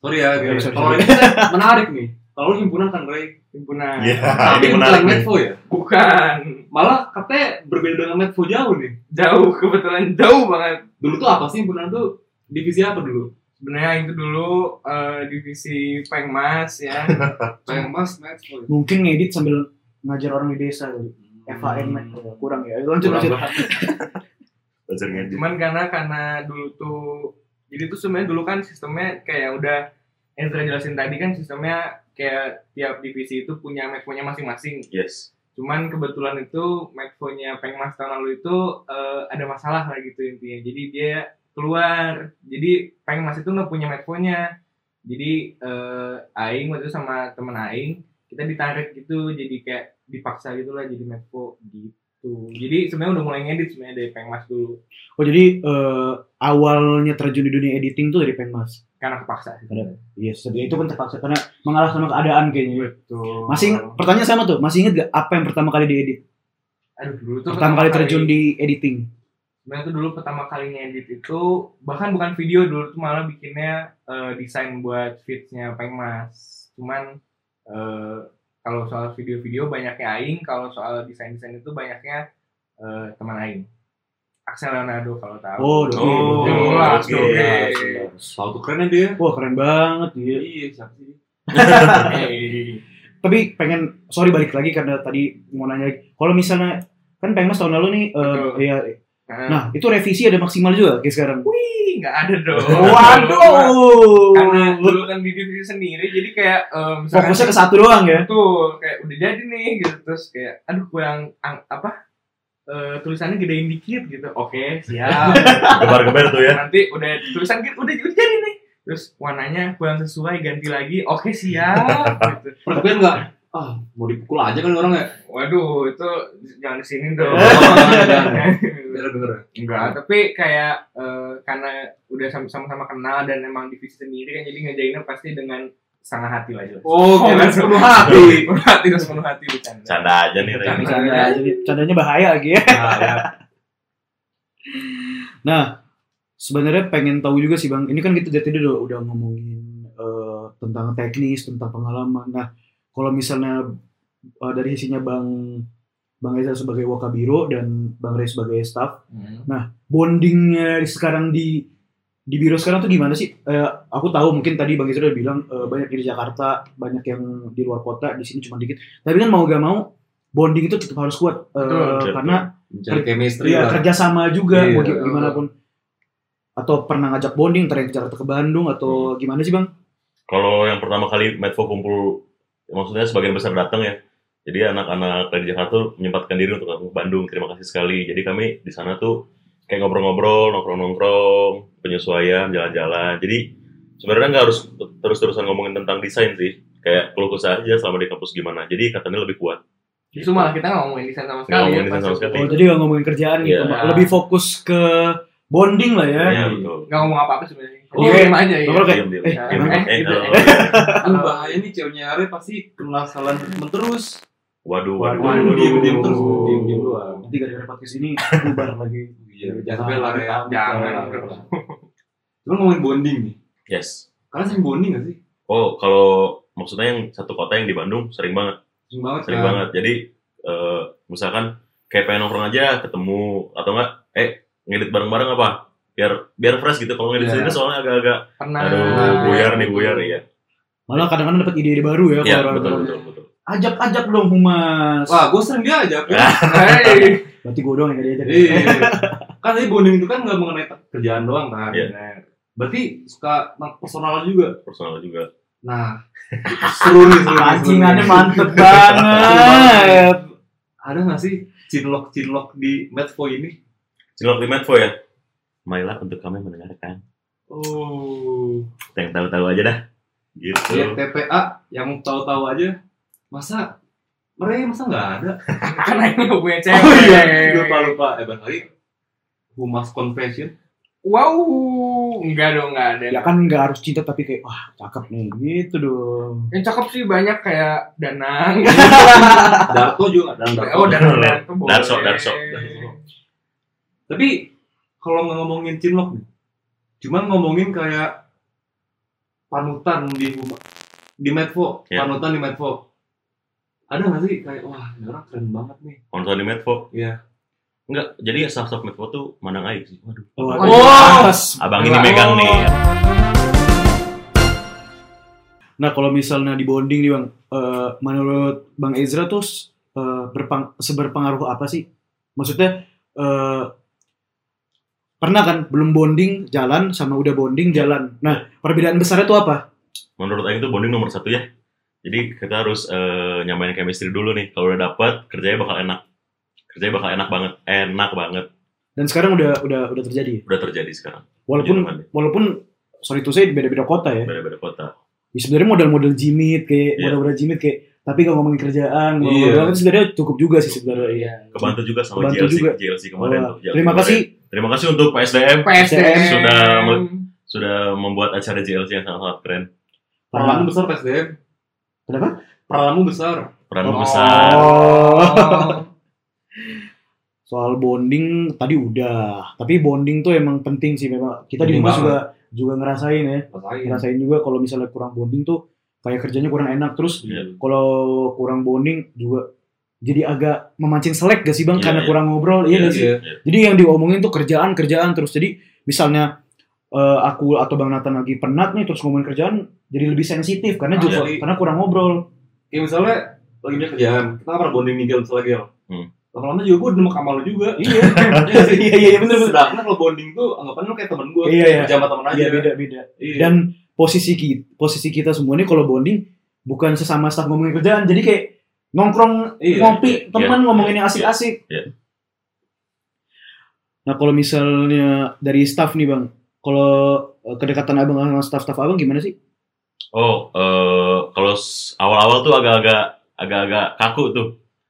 S2: Sorry ya,
S1: Sorry,
S2: guys.
S1: sorry,
S2: Kalau
S1: sorry.
S2: ini kan menarik nih. Kalau lu himpunan kan Ray,
S4: Himpunan.
S3: Iya,
S2: tapi
S3: ini
S2: bukan
S3: menarik nih
S2: Medfo ya.
S4: Bukan.
S2: Malah katanya berbeda dengan Medfo jauh nih.
S4: Jauh kebetulan jauh banget.
S2: Dulu tuh apa sih himpunan tuh? Divisi apa dulu?
S4: Sebenarnya itu dulu eh, divisi Pengmas ya.
S2: Kayak Mas Medfo. ya?
S1: Mungkin ngedit sambil ngajar orang di desa kali. FAM
S2: Hmm.
S1: kurang ya. Lanjut
S2: Kurang
S1: lanjut.
S2: banget.
S3: belajar ngaji
S4: Cuman karena karena dulu tuh jadi tuh sebenarnya dulu kan sistemnya kayak udah yang sudah jelasin tadi kan sistemnya kayak tiap divisi itu punya metfonya masing-masing.
S3: yes
S4: Cuman kebetulan itu metfonya Pengmas tahun lalu itu eh, ada masalah lah gitu intinya. Jadi dia keluar. Jadi Pengmas itu nggak punya metfonya. Jadi eh, Aing waktu itu sama temen Aing kita ditarik gitu jadi kayak dipaksa gitu lah jadi metfo gitu. Jadi sebenarnya udah mulai ngedit sebenarnya dari Pengmas dulu.
S1: Oh jadi eh, awalnya terjun di dunia editing tuh dari Penmas.
S4: karena kepaksa sih.
S1: Karena- Iya, sedih itu pun terpaksa karena mengalah sama keadaan kayaknya.
S4: Betul.
S1: Masih ingat- pertanyaan sama tuh, masih inget gak apa yang pertama kali diedit?
S4: aduh dulu tuh
S1: Pertama kali terjun di editing.
S4: sebenarnya tuh Nah, dulu pertama kali ngedit itu bahkan bukan video dulu tuh malah bikinnya eh, desain buat feedsnya Pengmas. Cuman eh, kalau soal video-video banyaknya Aing, kalau soal desain-desain itu banyaknya eh, teman Aing. Axel Leonardo kalau tahu.
S1: Oh, Doge.
S3: Oh,
S1: Doge.
S4: jelas,
S1: Doge.
S4: Doge.
S1: Jelas.
S2: Tahu tuh kerennya ya dia.
S1: Wah, keren banget dia.
S2: Iya, siapa sih?
S4: Hey.
S1: Tapi pengen sorry balik lagi karena tadi mau nanya lagi. Kalau misalnya kan Pengmas tahun lalu nih eh,
S4: Betul.
S1: iya.
S4: Nah,
S1: Nah, itu revisi ada maksimal juga kayak sekarang.
S4: wih, nggak ada dong.
S1: Waduh.
S4: Karena dulu kan di divisi sendiri, jadi kayak eh, misalkan
S1: Fokusnya ke satu doang ya.
S4: Betul, kayak udah jadi nih gitu terus kayak aduh kurang ang- apa eh, tulisannya gedein dikit gitu. Oke, siap.
S3: gebar-gebar tuh ya
S4: Nanti udah tulisan gitu udah, udah jadi nih. Terus warnanya kurang sesuai ganti lagi. Oke, siap gitu.
S2: Pernah gue enggak? Ah, mau dipukul aja kan orang ya.
S4: Waduh, itu jangan di sini dong.
S2: Denger denger. ya.
S4: Enggak, tapi kayak eh, karena udah sam- sama-sama kenal dan emang divisi sendiri kan jadi ngejainnya pasti dengan sangat hati lah jelas.
S2: Oh, keren sepenuh hati.
S4: Penuh hati, terus penuh hati bukan.
S3: canda aja nih Ray.
S4: Canda.
S1: Canda, jadi- candanya bahaya lagi ya.
S2: Nah, ya.
S1: Sebenarnya pengen tahu juga sih Bang. Ini kan kita dari tadi udah, udah ngomongin eh, tentang teknis, tentang pengalaman. Nah, kalau misalnya eh, dari sisinya Bang Bang Eza sebagai Wakabiro dan Bang Ray sebagai staff, nah,
S4: Hmm.
S1: bondingnya sekarang di di biro sekarang tuh gimana sih? Eh, aku tahu mungkin tadi Bang Eza udah bilang eh, banyak yang di Jakarta, banyak yang di luar kota, di sini cuma dikit. Tapi kan mau gak mau bonding itu tetap harus kuat Eh,
S4: Betul,
S3: betul.
S1: karena
S2: Mencari chemistry
S1: Iya,
S2: lah.
S1: kerjasama juga
S2: Iya.
S1: mau gi- gimana pun. Atau pernah ngajak bonding, ntar yang ke Jakarta ke Bandung atau
S3: Hmm.
S1: gimana sih bang?
S3: Kalau yang pertama kali Medfo kumpul, maksudnya sebagian besar datang ya. Jadi anak-anak dari Jakarta tuh menyempatkan diri untuk datang ke Bandung. Terima kasih sekali. Jadi kami di sana tuh kayak ngobrol-ngobrol, nongkrong-nongkrong, penyesuaian, jalan-jalan. Jadi sebenarnya nggak harus terus-terusan ngomongin tentang desain sih. Kayak keluh kesah aja selama di kampus gimana. Jadi katanya lebih kuat.
S4: Justru malah kita nggak ngomongin desain sama sekali.
S3: ngomongin
S4: ya,
S3: desain
S4: pas
S3: sama
S4: itu.
S3: sekali.
S1: Oh, jadi nggak ngomongin kerjaan gitu,
S3: Iya.
S1: Mak. Lebih fokus ke bonding lah ya.
S3: Iya, betul.
S4: Nggak ngomong apa-apa sebenarnya.
S3: Oh,
S1: Oke.
S4: Diem aja ya.
S1: Oke.
S3: Diam, diam.
S1: Eh,
S3: Diam.
S4: eh,
S3: iya. Eh,
S4: gitu.
S3: eh,
S2: Lu Kan bahaya nih ceweknya Arya pasti kena kesalahan treatment terus.
S3: Waduh,
S1: Waduh,
S3: waduh,
S2: Waduh,
S3: waduh.
S2: diem diem terus, diem diem doang.
S1: Nanti gara-gara podcast ini bubar lagi.
S2: Iya, jangan sampai lari
S1: Jangan.
S2: jangan. Cuma ngomongin bonding nih.
S3: Yes.
S2: Kalian sering bonding gak sih?
S3: Oh, kalau maksudnya yang satu kota yang di Bandung sering banget,
S2: Sering banget
S3: sering
S2: kan?
S3: banget. Jadi eh, misalkan kayak pengen nongkrong aja ketemu atau enggak eh ngedit bareng-bareng apa? Biar biar fresh gitu. Kalau ngedit
S2: Iya. Ah,
S3: sendiri soalnya agak-agak
S4: Pernah.
S3: aduh buyar nih buyar iya.
S1: Malah kadang-kadang dapat ide-ide baru ya.
S3: Iya,
S1: kalau
S3: betul
S1: orang-
S3: betul betul.
S1: Ajak-ajak dong humas.
S2: Wah, gue sering dia ajak.
S3: Iya.
S2: ya.
S4: Hei.
S1: Berarti gue doang yang gak diajak. Eh,
S2: Iya. Kan tadi bonding itu kan nggak mengenai kerjaan doang kan.
S3: Iya.
S2: Nah, Berarti suka tentang personal juga.
S3: Personal juga.
S2: Nah, seru nih seru. nih, seru nih.
S1: Pancingannya mantep banget.
S2: Ada nggak sih cinlok cinlok di Medfo ini?
S3: Cilok di Medfo ya. Marilah untuk kami mendengarkan.
S2: Oh.
S3: Kita Yang tahu-tahu aja dah. Gitu.
S2: Lihat TPA yang tahu-tahu aja. Masa mereka masa nggak ada?
S4: Kan ini hubungannya cewek.
S2: Oh iya, lupa lupa. Eh bang Ali, Humas Confession.
S4: Wow. Enggak dong, enggak
S3: Iya.
S4: ada.
S1: Ya kan nggak harus cinta tapi kayak wah cakep nih gitu dong.
S4: Yang cakep sih banyak kayak Danang.
S2: Darto juga nggak ada. Darto.
S4: oh, Danang. Danang tuh boleh.
S3: Darso, Darso, Darso.
S2: Tapi kalau nggak ngomongin cinlok nih, cuman ngomongin kayak panutan di huma- di Medfo,
S3: Iya.
S2: panutan di Medfo. Ada nggak sih kayak wah ini orang keren banget nih?
S3: Nonton di Medfo.
S2: Iya.
S3: Enggak, jadi staff-staff Medfo tuh mandang aib sih. Waduh.
S1: Wah,
S4: Wow.
S1: atas.
S3: Abang ini megang nih.
S2: Oh,
S1: Nah kalau misalnya di bonding nih bang, eh, menurut bang Ezra tuh eh, berpeng- seberpengaruh apa sih? Maksudnya eh, pernah kan belum bonding jalan sama udah
S3: Iya.
S1: bonding jalan. Nah perbedaan besarnya tuh apa?
S3: Menurut Aing tuh bonding nomor satu ya. Jadi kita harus eh, nyamain chemistry dulu nih. Kalau udah dapet, kerjanya bakal enak. Kerjanya bakal enak banget, enak banget.
S1: Dan sekarang udah udah udah terjadi. ya?
S3: Udah terjadi sekarang. Iya.
S1: Walaupun walaupun sorry tuh saya beda-beda kota ya.
S3: beda-beda kota.
S1: ya sebenarnya model-model jimit kayak
S3: Iya.
S1: model-model jimit kayak tapi kalau ngomongin kerjaan
S2: Iya.
S1: model-model itu sebenarnya cukup juga sih sebenarnya iya.
S3: Kebantu juga sama
S1: Kebantu
S3: JLC,
S1: juga.
S3: JLC kemarin
S1: Wah,
S3: tuh. JLC
S1: terima
S3: kemarin.
S1: kasih
S3: Terima kasih untuk PSDM
S4: PSDM.
S3: Sudah mel- sudah membuat acara JLC yang sangat-sangat keren.
S2: Peralamu besar PSDM.
S1: Kenapa?
S2: Peralamu besar.
S3: Peran
S4: Oh.
S3: besar.
S1: Oh. soal bonding tadi udah tapi bonding tuh emang penting sih memang kita di
S2: Penting
S1: rumah
S2: banget. Hmm.
S1: juga juga ngerasain ya
S2: Rasain.
S1: ngerasain juga kalau misalnya kurang bonding tuh kayak kerjanya kurang enak terus
S3: Iya.
S1: kalau kurang bonding juga jadi agak memancing selek gak sih bang
S3: Iya,
S1: karena
S3: iya.
S1: kurang ngobrol iya
S3: Iya,
S1: gak sih
S2: Iya.
S1: Jadi yang diomongin tuh kerjaan kerjaan terus. Jadi misalnya eh, aku atau Bang Nathan lagi penat nih terus ngomongin kerjaan jadi lebih sensitif karena
S2: Ah,
S1: juga
S2: jadi-
S1: karena kurang ngobrol.
S2: Kayak misalnya lagi punya kerjaan, kita pernah bonding nih Gil, misalnya Gil.
S3: Hmm.
S2: Lama-lama juga gue demek sama lu juga.
S1: Iya.
S2: Iya sih.
S1: Iya iya iya, bener bener.
S2: Sedangkan kalau bonding tuh anggapannya lu kayak temen gue,
S1: Iya, iya.
S2: kerja sama temen aja.
S1: Iya beda beda.
S2: Iya.
S1: Dan posisi kita posisi kita semua ini kalau bonding bukan sesama staff ngomongin kerjaan. Jadi kayak nongkrong
S2: Iya,
S1: ngopi
S3: iya,
S1: teman
S3: iya,
S1: ngomongin
S3: iya,
S1: yang asik-asik.
S3: iya.
S1: Nah kalau misalnya dari staff nih bang, kalau eh, kedekatan abang sama staff-staff abang gimana sih?
S3: Oh, eh kalau s- awal-awal tuh agak-agak agak-agak kaku tuh.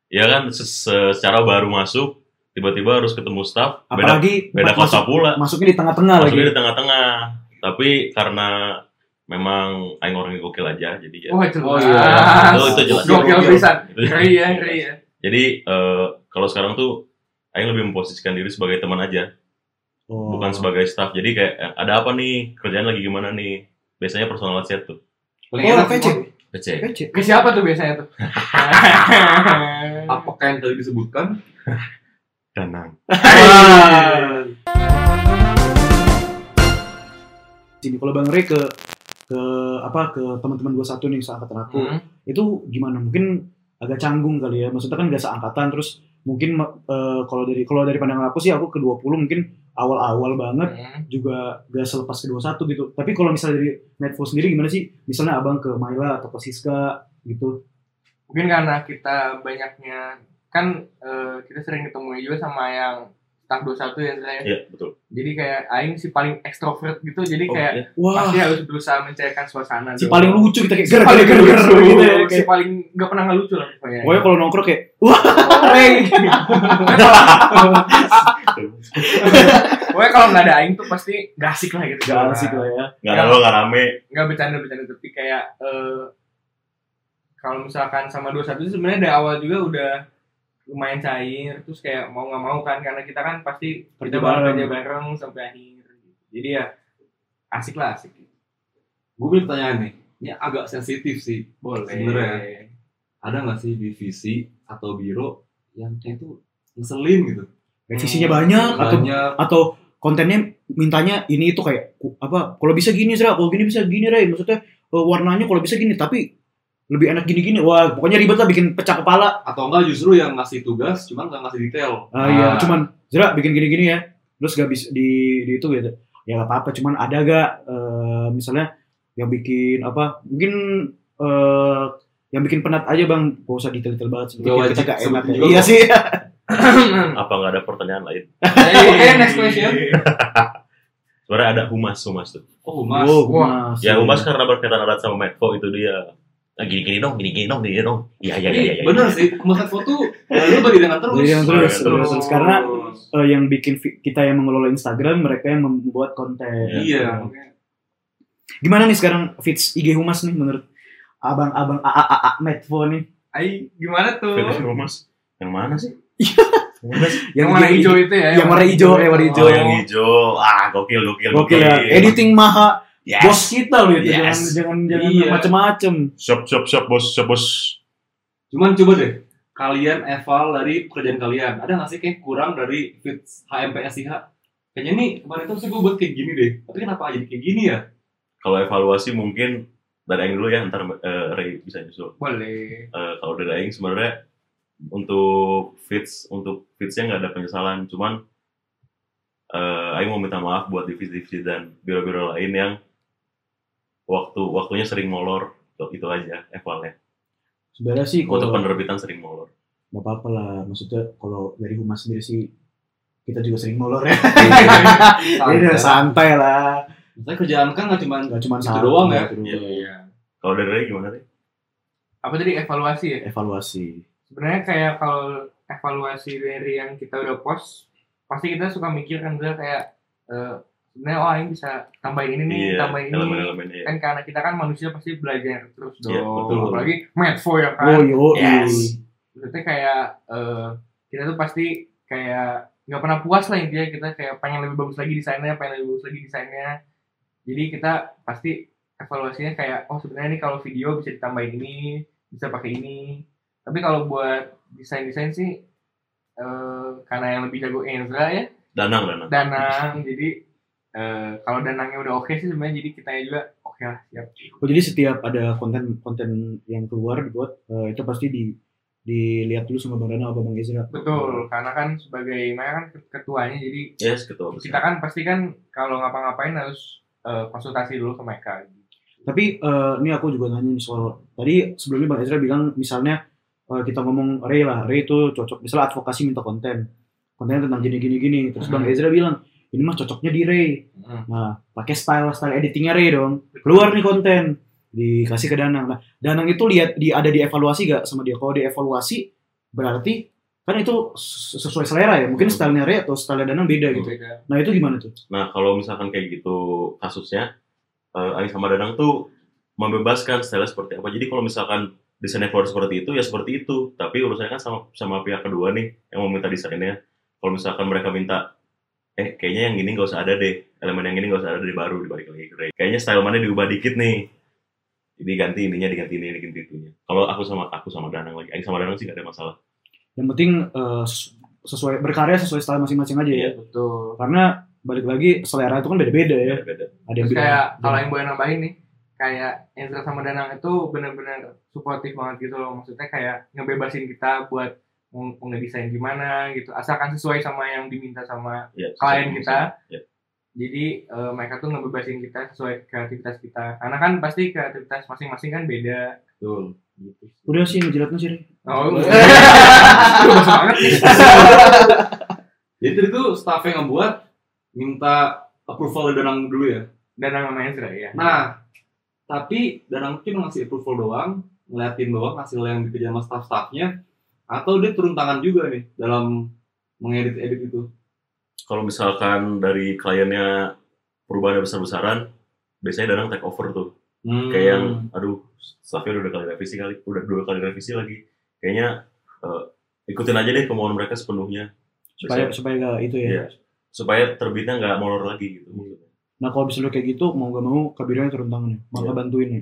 S3: Ya kan se- se- secara baru masuk tiba-tiba harus ketemu staff, beda
S1: Apalagi
S3: beda kota
S1: masuk-
S3: pula.
S1: masuknya di
S4: Nah,
S1: tengah-tengah lagi.
S3: Maksudnya di tengah-tengah. Tapi karena memang aing orangnya gokil aja jadi ya.
S4: Wah, jelas.
S2: Oh, iya.
S3: Itu, itu jelas.
S4: Gokil
S2: Gokil.
S4: pisan.
S3: Itu-
S4: Ngeri ya, ngeri ya.
S3: Jadi eh kalau sekarang tuh aing lebih memposisikan diri sebagai teman aja,
S1: Oh.
S3: bukan sebagai staff. Jadi kayak eh, ada apa nih? Kerjaan lagi gimana nih? Biasanya personal chat tuh.
S2: Paling
S1: Oh,
S2: enak
S1: PC.
S2: semua.
S3: Kece.
S1: Kece.
S4: Ke siapa tuh biasanya tuh?
S2: Apakah yang tadi disebutkan?
S3: Danang.
S1: Sini kalau Bang Rey ke ke apa ke teman-teman gua satu nih seangkatan aku.
S4: Hmm.
S1: Itu gimana? Mungkin agak canggung kali ya. Maksudnya kan gak seangkatan terus mungkin eh, kalau dari kalau dari pandangan aku sih aku ke 20 mungkin awal-awal banget
S4: hmm.
S1: juga gak selepas ke 21 gitu. Tapi kalau misalnya dari Medfo sendiri gimana sih? Misalnya Abang ke Maila atau ke Siska gitu.
S4: Mungkin karena kita banyaknya kan eh, kita sering ketemu juga sama yang staff 21 ya saya.
S3: Iya, betul.
S4: Jadi kayak aing si paling ekstrovert gitu. Jadi
S3: Oh,
S4: kayak
S3: iya.
S1: Wah,
S4: pasti harus berusaha mencairkan suasana.
S1: si
S4: tuh.
S1: paling lucu kita kayak
S4: si
S1: ger
S4: paling
S1: ger ger
S4: lucu,
S1: gitu ya.
S4: si
S1: Kayak-
S4: paling nggak pernah ngelucu lah pokoknya.
S1: Pokoknya kalau nongkrong kayak
S4: Goreng. Pokoknya kalau nggak ada aing tuh pasti gak asik lah gitu.
S1: Gak asik lah ya.
S3: Nggak ada lo, nggak rame.
S4: Nggak bercanda-bercanda tapi kayak eh, kalau misalkan sama 21 itu sebenarnya dari awal juga udah lumayan cair terus kayak mau nggak mau kan karena kita kan pasti
S1: Kerja
S4: kita bareng
S1: bareng.
S4: kerja bareng sampai akhir jadi ya asik lah asik
S2: Gue punya pertanyaan nih. Ini agak sensitif sih.
S4: boleh
S2: Sebenarnya. Ada nggak sih divisi atau biro yang kayak tuh ngeselin gitu?
S4: Hmm.
S1: Revisinya banyak atau
S2: Banyak.
S1: atau kontennya mintanya ini itu kayak ku- apa? Kalau bisa gini Zra, kalau gini bisa gini Ray. Maksudnya eh, warnanya kalau bisa gini tapi lebih enak gini-gini. Wah, pokoknya ribet lah bikin pecah kepala.
S2: Atau enggak justru yang ngasih tugas cuman nggak ngasih detail.
S1: Ah iya, cuman Zra bikin gini-gini ya. Terus gak bisa di, di itu gitu. Ya gak apa-apa, cuman ada gak eh, misalnya yang bikin apa? Mungkin eh yang bikin penat aja bang, gak usah detail-detail banget. Bikin
S2: Gak
S1: kita gak
S2: wajib
S1: enak.
S2: sebutin
S1: ya.
S2: juga,
S1: Iya
S2: Bang.
S1: sih.
S4: Hmm.
S3: Apa nggak ada pertanyaan lain?
S4: oke next question
S3: Sebenarnya ada humas humas tuh.
S2: Oh mas.
S1: Wow,
S4: Wah.
S1: Mas.
S3: Ya humas karena berkaitan erat sama Medco itu dia. "Ah, Gini gini dong, gini gini dong, gini gini dong. Iya iya iya. iya,
S2: Bener
S3: iya.
S2: sih. Mas foto lu bagi dengan terus.
S1: Bagi dengan Iya, terus,
S3: terus.
S1: terus. Karena eh, yang bikin vi- kita yang mengelola Instagram, mereka yang membuat konten. Gitu.
S2: Iya.
S1: Gimana nih sekarang fits IG Humas nih menurut abang-abang AAA Medvo nih?
S4: Ai gimana tuh
S3: Finish humas. Yang mana sih?
S4: Iya.
S3: Yang mana sih?
S4: yang warna
S1: di-
S4: hijau itu ya
S1: yang warna hijau, yang warna hijau.
S3: Oh, yang hijau. Ah, gokil gokil
S1: Gokil ya, editing maha
S3: Iya. Yes.
S1: bos kita loh itu.
S3: Yes.
S1: Jangan jangan jangan
S2: Iya.
S1: macem-macem.
S3: Siap siap siap bos, siap bos.
S2: Cuman coba deh kalian eval dari pekerjaan kalian. Ada nggak sih kayak kurang dari fits HMPSIH? Kayaknya nih kemarin tuh sih gue buat kayak gini deh. Tapi kenapa jadi kayak gini ya?
S3: Kalau evaluasi mungkin dari Aing dulu ya, ntar eh, Ray bisa nyusul.
S4: boleh
S3: Eh, kalau dari Aing sebenarnya untuk fits untuk fitsnya nggak ada penyesalan, cuman eh, Aing mau minta maaf buat divisi-divisi dan biro-biro lain yang waktu waktunya sering molor Itu- itu aja evalnya.
S1: Sebenarnya sih
S3: Untuk
S1: kalau
S3: penerbitan sering molor.
S1: nggak apa-apa lah. Maksudnya kalau dari Humas sendiri sih kita juga sering molor ya. Jadi udah
S2: Santai.
S1: santai lah.
S2: Maksudnya kerjaan kan nggak cuma
S1: Gak cuma
S2: Itu
S1: santai,
S2: doang ya?
S1: gitu
S3: Iya.
S1: doang.
S4: iya
S3: Kalau dari Ray gimana Ray?
S4: apa tadi evaluasi ya
S1: Evaluasi.
S4: sebenarnya kayak kalau evaluasi dari yang kita udah post pasti kita suka mikir kan Zah, kayak eh, sebenarnya oh ini bisa tambahin ini nih tambahin ini
S3: Iya, elemen-elemennya.
S4: kan karena kita kan manusia pasti belajar terus dong
S3: Iya, betul.
S4: apalagi medfo ya
S1: Oh,
S4: kan
S1: yo,
S3: Yes.
S4: maksudnya kayak eh, kita tuh pasti kayak nggak pernah puas lah intinya kita kayak pengen lebih bagus lagi desainnya pengen lebih bagus lagi desainnya jadi kita pasti evaluasinya kayak oh sebenarnya ini kalau video bisa ditambahin ini bisa pakai ini tapi kalau buat desain desain sih eh, karena yang lebih jago Ezra ya
S3: Danang, Danang.
S4: Danang jadi eh, kalau Danangnya udah oke sih sebenarnya jadi kita juga oke lah siap
S1: Oh jadi setiap ada konten-konten yang keluar dibuat eh, itu pasti di dilihat dulu sama Bang Dana atau Bang Ezra.
S4: betul karena kan sebagai Maya kan ketuanya jadi
S3: Yes, ketua besar.
S4: kita kan pasti kan kalau ngapa-ngapain harus eh, konsultasi dulu ke mereka
S1: Tapi eh, ini aku juga nanya nih soal tadi sebelumnya Bang Ezra bilang misalnya eh, kita ngomong Ray lah, Ray itu cocok misalnya advokasi minta konten. Kontennya tentang gini gini gini. Terus Bang
S4: Mhm.
S1: Ezra bilang, ini mah cocoknya di Ray.
S4: Hmm.
S1: Nah, pakai style style editingnya Ray dong. Keluar nih konten dikasih ke Danang. Nah, Danang itu lihat di ada di evaluasi gak sama dia? Kalau di evaluasi berarti kan itu ses- sesuai selera ya. Mungkin stylenya Ray atau style Danang beda gitu.
S4: Beda.
S1: Nah, itu gimana tuh?
S3: Nah, kalau misalkan kayak gitu kasusnya, eh Aing sama Danang tuh membebaskan style seperti apa. Jadi kalau misalkan desainnya keluar seperti itu, ya seperti itu. Tapi urusannya kan sama sama pihak kedua nih yang mau minta desainnya. Kalau misalkan mereka minta, eh kayaknya yang gini nggak usah ada deh, elemen yang gini nggak usah ada deh baru dibalik lagi. ke Ray. Kayaknya style mana diubah dikit nih. Diganti ininya, diganti ini, diganti itunya. Kalau aku sama aku sama Danang lagi, Aing sama Danang sih nggak ada masalah.
S1: Yang penting eh, ses- sesuai berkarya sesuai style masing-masing aja ya.
S4: Iya, betul
S1: Karena balik lagi selera itu kan beda-beda ya.
S4: Iya.
S3: Beda.
S1: Ada yang
S4: terus
S1: bilang gitu.
S4: kayak kalau yang boleh nambahin nih kayak Ezra sama Danang itu benar-benar suportif banget gitu loh maksudnya kayak ngebebasin kita buat mau mau ngedesain gimana gitu asalkan sesuai sama yang diminta sama Iya.
S3: Ya,
S4: klien
S3: sesuai-
S4: kita
S3: Ya.
S4: jadi eh, mereka tuh ngebebasin kita sesuai kreativitas kita karena kan pasti kreativitas masing-masing kan beda
S2: Betul. Gitu.
S1: udah sih ngejilatnya sih. Ray.
S4: oh
S2: Boleh.
S4: banget nih
S2: Jadi tadi tuh staff yang ngebuat minta approval dari Danang dulu ya.
S4: Danang sama Ezra ya
S2: Nah, tapi Danang tuh cuma ngasih approval doang, ngeliatin doang hasil yang dikerjain sama staff-staffnya. atau dia turun tangan juga nih dalam mengedit-edit itu
S3: Kalau misalkan dari kliennya perubahannya besar-besaran, biasanya Danang take over tuh. Kayak yang,
S2: Hmm.
S3: aduh, staffnya udah kali revisi kali, udah dua kali revisi lagi. Kayaknya eh, ikutin aja deh kemauan mereka sepenuhnya.
S1: supaya
S3: Biasanya-
S1: supaya nggak itu ya.
S3: Iya. supaya terbitnya nggak molor lagi gitu.
S1: Nah kalau misalnya kayak gitu mau gak mau kabirnya turun tangan ya, maka
S3: Iya.
S1: bantuin ya.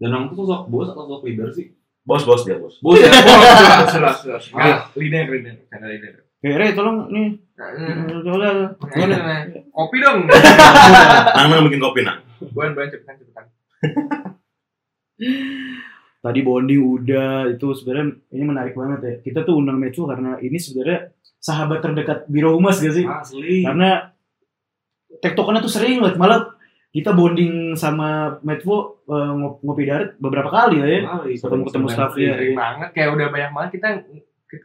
S2: Danang tuh sosok bos atau sosok leader sih
S3: Bos bos dia bos.
S2: bos ya
S4: Sudah, sudah, sudah. Nggak, leader, leader. Karena leader.
S1: Kayak Rey tolong nih,
S4: Nah,
S1: udah udah, udah.
S4: nah, nah. Kopi dong.
S3: Nang nang bikin kopi nang.
S4: Buan, buan, cepetan, cepetan.
S1: Tadi bonding udah itu sebenarnya ini menarik banget ya. Kita tuh undang Mecu karena ini sebenarnya sahabat terdekat Biro Humas gak sih?
S2: asli
S1: karena tektokannya tuh sering banget malah kita bonding sama Medvo eh, ngop- ngopi darat beberapa kali lah ya Ketemu-ketemu staff, iya.
S2: ya.
S4: Sering banget. Kayak udah banyak banget kita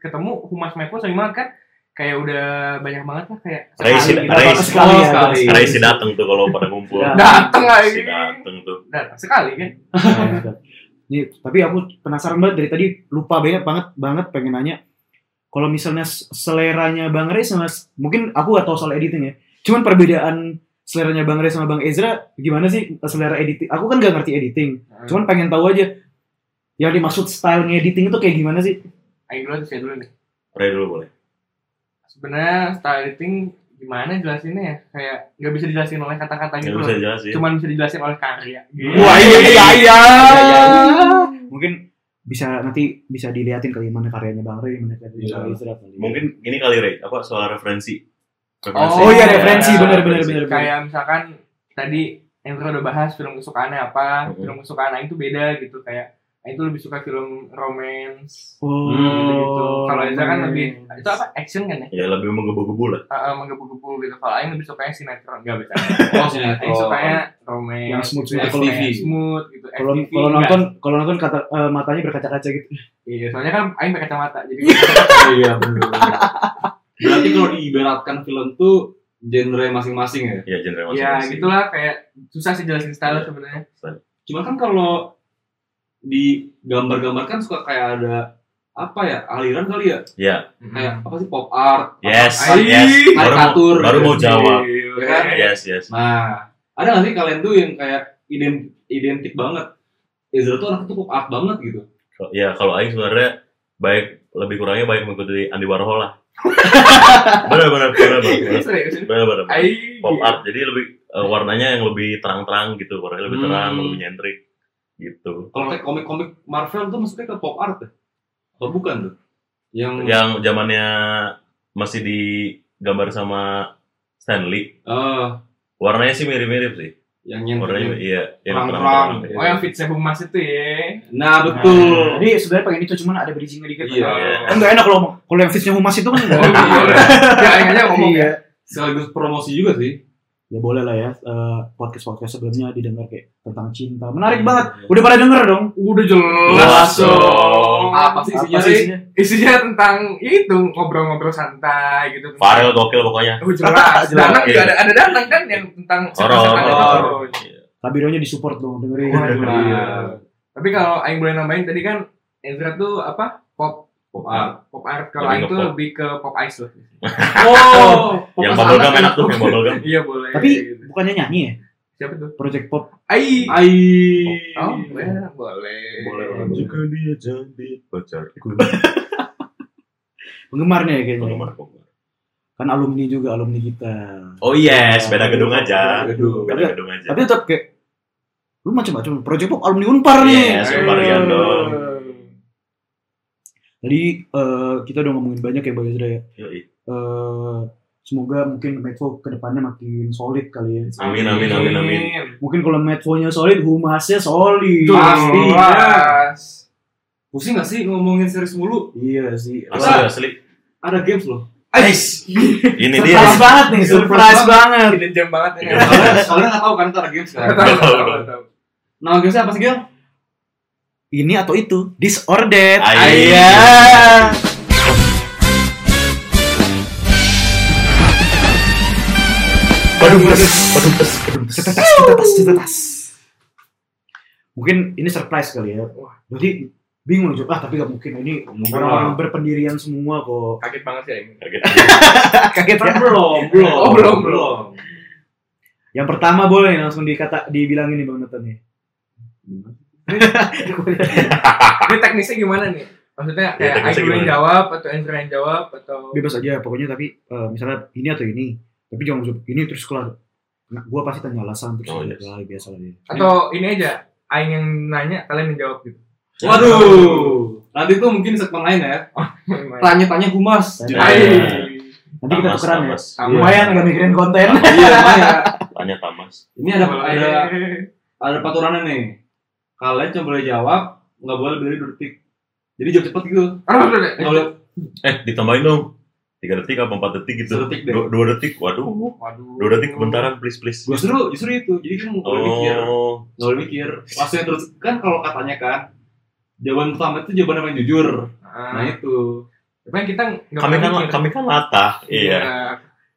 S4: ketemu Humas Mepo sering banget kan. Kayak udah banyak banget lah kayak.
S3: Ray
S4: sekali
S3: si-
S4: gitu.
S3: Ray
S4: Apa,
S3: si-
S4: sekali ya?
S2: sekali.
S1: Iya.
S4: Sekali.
S3: Karena isi dateng tuh kalau pada ngumpul.
S1: Ya.
S4: Dateng lagi.
S3: Isi dateng tuh.
S4: Datang sekali kan.
S1: Nih, Iya, tapi aku penasaran banget dari tadi lupa banget banget banget pengen nanya kalau misalnya s- seleranya Bang Rey sama s- mungkin aku gak tahu soal editing ya cuman perbedaan seleranya Bang Rey sama Bang Ezra gimana sih selera editing aku kan gak ngerti editing cuman pengen tahu aja yang dimaksud style ngediting itu kayak gimana sih
S4: Ayo dulu, saya dulu nih.
S3: Ray dulu boleh.
S4: Sebenarnya style editing gimana jelasinnya ya? Kayak nggak bisa dijelasin oleh kata-kata
S3: Nggak
S4: gitu
S3: bisa iya.
S4: loh.
S3: jelasin.
S4: Cuman bisa dijelasin oleh karya. Gitu.
S1: Wah, iya, iya,
S3: iya.
S1: mungkin bisa nanti bisa diliatin kali mana karyanya Bang Rey, mana karyanya
S2: Iya.
S1: Bang Ezra kali.
S3: Mungkin ini kali Ray, apa soal referensi?
S1: Oh iya referensi
S4: Iya,
S1: bener bener bener. bener.
S4: kayak misalkan tadi Endro udah bahas film kesukaannya apa
S3: Mhm.
S4: film kesukaan Aing tuh beda gitu kayak Aing tuh lebih suka film romance
S1: Oh. iya.
S4: gitu kalau Endro kan lebih itu apa action kan
S3: Ya
S4: ya
S3: lebih menggebu-gebu lah.
S4: Eh, eh, menggebu-gebu gitu kalau Aing lebih sukanya sinetron nggak bisa
S2: oh
S4: Aing sukanya romance
S1: Yang smooth
S4: gitu,
S1: smooth.
S4: kalau
S2: FTV.
S4: smooth gitu
S1: Kalau
S4: FTV,
S1: kalau
S4: nggak.
S1: nonton kalau nonton kata eh, matanya berkaca-kaca gitu.
S4: iya soalnya kan Aing pakai kacamata jadi
S2: iya bener berarti kalau diibaratkan film tuh genre masing-masing ya
S3: Ya
S1: Oh,
S3: genre
S4: ya
S3: masing-masing.
S4: gitulah kayak susah sih jelasin style sebenarnya
S2: cuman kan kalau digambar-gambarkan suka kayak ada apa ya aliran kali ya
S3: Ya.
S2: kayak apa sih pop art
S3: Yes,
S2: apa-
S4: Ay,
S3: yes. Baru mau,
S2: karikatur
S3: baru mau jawab.
S4: Iya.
S2: kan?
S3: Yes, yes.
S2: Nah, ada nggak sih kalian tuh yang kayak ident identik banget? Ezra tuh anaknya tuh pop art banget gitu.
S3: Ya kalau Aing sebenarnya baik lebih kurangnya baik mengikuti Andy Warhol lah. bener bener bener bener
S4: serius ini.
S3: bener bener.
S4: Aing
S3: Pop art jadi lebih eh, warnanya yang lebih terang-terang gitu, warnanya lebih terang,
S2: Hmm.
S3: lebih nyentrik gitu.
S2: Kalau kayak komik-komik Marvel tuh maksudnya ke pop art ya? Atau bukan tuh? Yang
S3: Yang zamannya masih digambar sama Stanley,
S2: eh,
S3: warnanya sih mirip-mirip sih.
S2: yang
S3: Warnanya
S2: nyentuh.
S3: iya,
S2: Hmm.
S3: yang
S2: Terang-terang.
S3: terang-terang.
S4: Oh yang fit saya Mas itu ya.
S2: Nah, betul.
S1: Jadi sebenarnya pengen itu cuman ada bridgingnya dikit.
S2: Iya.
S1: Kan nggak enak kalau kalau yang fitnya humas itu kan nggak
S4: Oh,
S1: enak.
S4: iya. Ya, Aing aja ngomong ya.
S1: Iya.
S2: Sekaligus promosi juga sih.
S1: Ya boleh lah ya podcast podcast sebelumnya didengar kayak tentang cinta. Menarik banget. Udah pada denger dong.
S4: Udah jelas
S3: Jelas
S4: dong.
S3: dong.
S2: Ah,
S4: Apa sih
S1: Apa
S4: isinya?
S1: sih
S4: Ri?
S1: isinya?
S4: Isinya tentang itu ngobrol-ngobrol santai gitu.
S3: Farel gokil pokoknya.
S4: Oh,
S1: Jelas.
S4: jelas. Danang juga ada ada Danang kan yang tentang
S3: Horor.
S4: setan-setan
S2: horor.
S4: itu.
S3: horor.
S1: Kabironya disupport dong dengerin.
S4: Wah, jelas.
S2: Iya.
S4: Tapi kalau Aing boleh nambahin tadi kan Ezra tuh apa? Pop
S2: Pop art.
S4: pop art kalau
S3: Lebih
S4: Aing
S3: ke
S4: tuh
S3: pop.
S4: lebih ke pop ice lah.
S2: Oh, pop
S3: Yang
S2: art
S3: bubble gum
S2: anak.
S3: enak tuh, yang bubble gum.
S4: Iya boleh.
S1: Tapi
S4: Gitu.
S1: bukannya nyanyi ya?
S4: siapa tuh?
S1: Project Pop
S4: Ai.
S2: Ai.
S4: Oh, boleh, boleh.
S2: Boleh, boleh.
S3: Jika dia jadi pacarku.
S1: penggemarnya ya kayaknya. Kan alumni juga alumni kita.
S3: Oh yes, beda gedung aja.
S2: Aduh.
S3: Beda gedung aja.
S1: Tapi tetap kayak lu macam-macam Project Pop alumni Unpar nih.
S3: Yes,
S1: Eh.
S3: Unpar Rian dong.
S1: Jadi eh, kita udah ngomongin banyak ya Bang Ezra ya.
S3: Yoi.
S1: Eh, semoga mungkin Medfo kedepannya makin solid kali ya.
S3: Amin, amin, amin, amin.
S1: Mungkin kalau Medfo-nya solid, humasnya solid.
S4: Pasti.
S2: Pusing gak sih ngomongin series mulu?
S1: Iya sih.
S3: Asli, asli.
S2: Ada games loh.
S1: Ais.
S3: Ini dia.
S1: Surprise banget nih, surprise
S2: Surprise
S1: banget.
S4: Ini jam banget ini.
S2: Soalnya, soalnya gak tau kan ntar ada games
S4: Nggak
S2: kan?
S4: tahu, nggak tahu,
S3: Nggak tahu.
S4: nggak tahu.
S2: Nama gamesnya apa sih, Gil?
S1: Ini atau itu, disordered.
S3: Ai.
S1: Iya.
S3: Waduh, pedes, waduh, pedes, waduh, pedes.
S1: Cetetas, cetetas, cetetas. Mungkin ini surprise kali ya. Wah, berarti bingung coba ah, tapi gak mungkin ini
S2: Mungkin
S1: orang-orang berpendirian semua kok
S4: Kaget banget sih ini.
S3: Kaget.
S1: kaget
S2: Kan
S1: ya
S2: belum, belum.
S4: Oh, belum,
S2: belum.
S1: yang pertama boleh langsung dikata dibilangin nih bang Nathan ya. nih
S4: Ini teknisnya gimana nih? Maksudnya
S3: Ya,
S4: kayak
S3: teknisnya
S4: idol yang
S3: gimana?
S4: jawab atau answer yang jawab atau
S1: bebas aja pokoknya tapi eh, misalnya ini atau ini tapi jangan masuk ini terus kelar nah, gue pasti tanya alasan terus oh,
S3: Oh, yes.
S1: biasa lah dia.
S4: atau ini aja Aing yang nanya kalian yang jawab gitu.
S2: Waduh. Nanti tuh mungkin segmen lain ya. Tanya-tanya humas.
S1: Tanya.
S2: Jadi-
S4: Hai.
S1: nanti kita
S3: Tamas,
S1: tukeran ya
S3: Tamas.
S4: Tamas.
S1: lumayan nggak mikirin konten
S2: Iya, lumayan.
S3: Tanya Tamas.
S2: Ini ada
S4: Iya.
S2: ada ada peraturannya nih. Kalian cuma boleh jawab nggak boleh lebih dari dua detik. Jadi jawab cepet gitu.
S4: Aduh, aduh, aduh.
S2: Nggak boleh
S3: Eh, ditambahin dong. Tiga detik apa empat detik gitu?
S2: Sedetik deh.
S3: Dua, dua detik, waduh.
S4: Waduh.
S3: Dua detik kebentaran, please, please.
S2: Justru justru itu. Jadi kamu nggak boleh mikir.
S3: Oh,
S2: Nggak boleh mikir. Langsung terus kan kalau katanya kan jawaban pertama itu jawaban yang paling jujur. Nah
S4: Ah,
S2: itu.
S4: Tapi kita nggak
S3: kami kan
S4: pernah mikir.
S3: kami kan latah. Iya.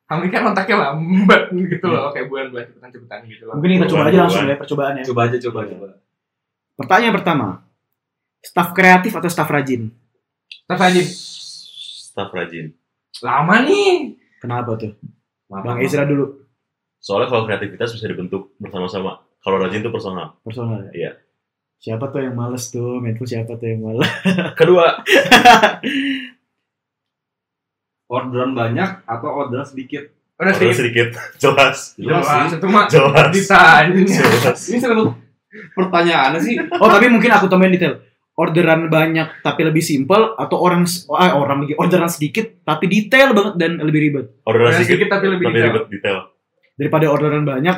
S4: Kami kan otaknya lambat gitu loh, kayak bulan bulan cepetan cepetan gitu loh.
S1: mungkin kita coba aja langsung ya percobaan ya
S2: Coba aja coba coba.
S1: pertanyaan pertama staff kreatif atau staff rajin
S4: Terus aja
S3: Staff rajin.
S4: lama nih.
S1: kenapa tuh
S2: Maaf.
S1: bang Ezra dulu
S3: Soalnya kalau kreativitas bisa dibentuk bersama-sama. Kalau rajin itu personal.
S1: personal ya?
S3: Iya.
S1: siapa tuh yang males tuh Menfu siapa tuh yang males
S3: Kedua,
S2: Orderan banyak atau orderan sedikit?
S4: Udah
S3: order
S4: sih.
S3: sedikit jelas.
S4: Jelas, itu mah
S3: Jelas.
S4: ditanya.
S3: Jelas.
S2: Ini selalu pertanyaannya sih.
S1: oh tapi mungkin aku tambahin detail orderan banyak tapi lebih simpel atau orang eh, orang lagi orderan sedikit tapi detail banget dan lebih ribet
S3: Orderan
S4: Orderan
S3: sedikit
S4: sedikit tapi lebih
S3: tapi
S4: detail.
S3: ribet detail.
S1: daripada orderan banyak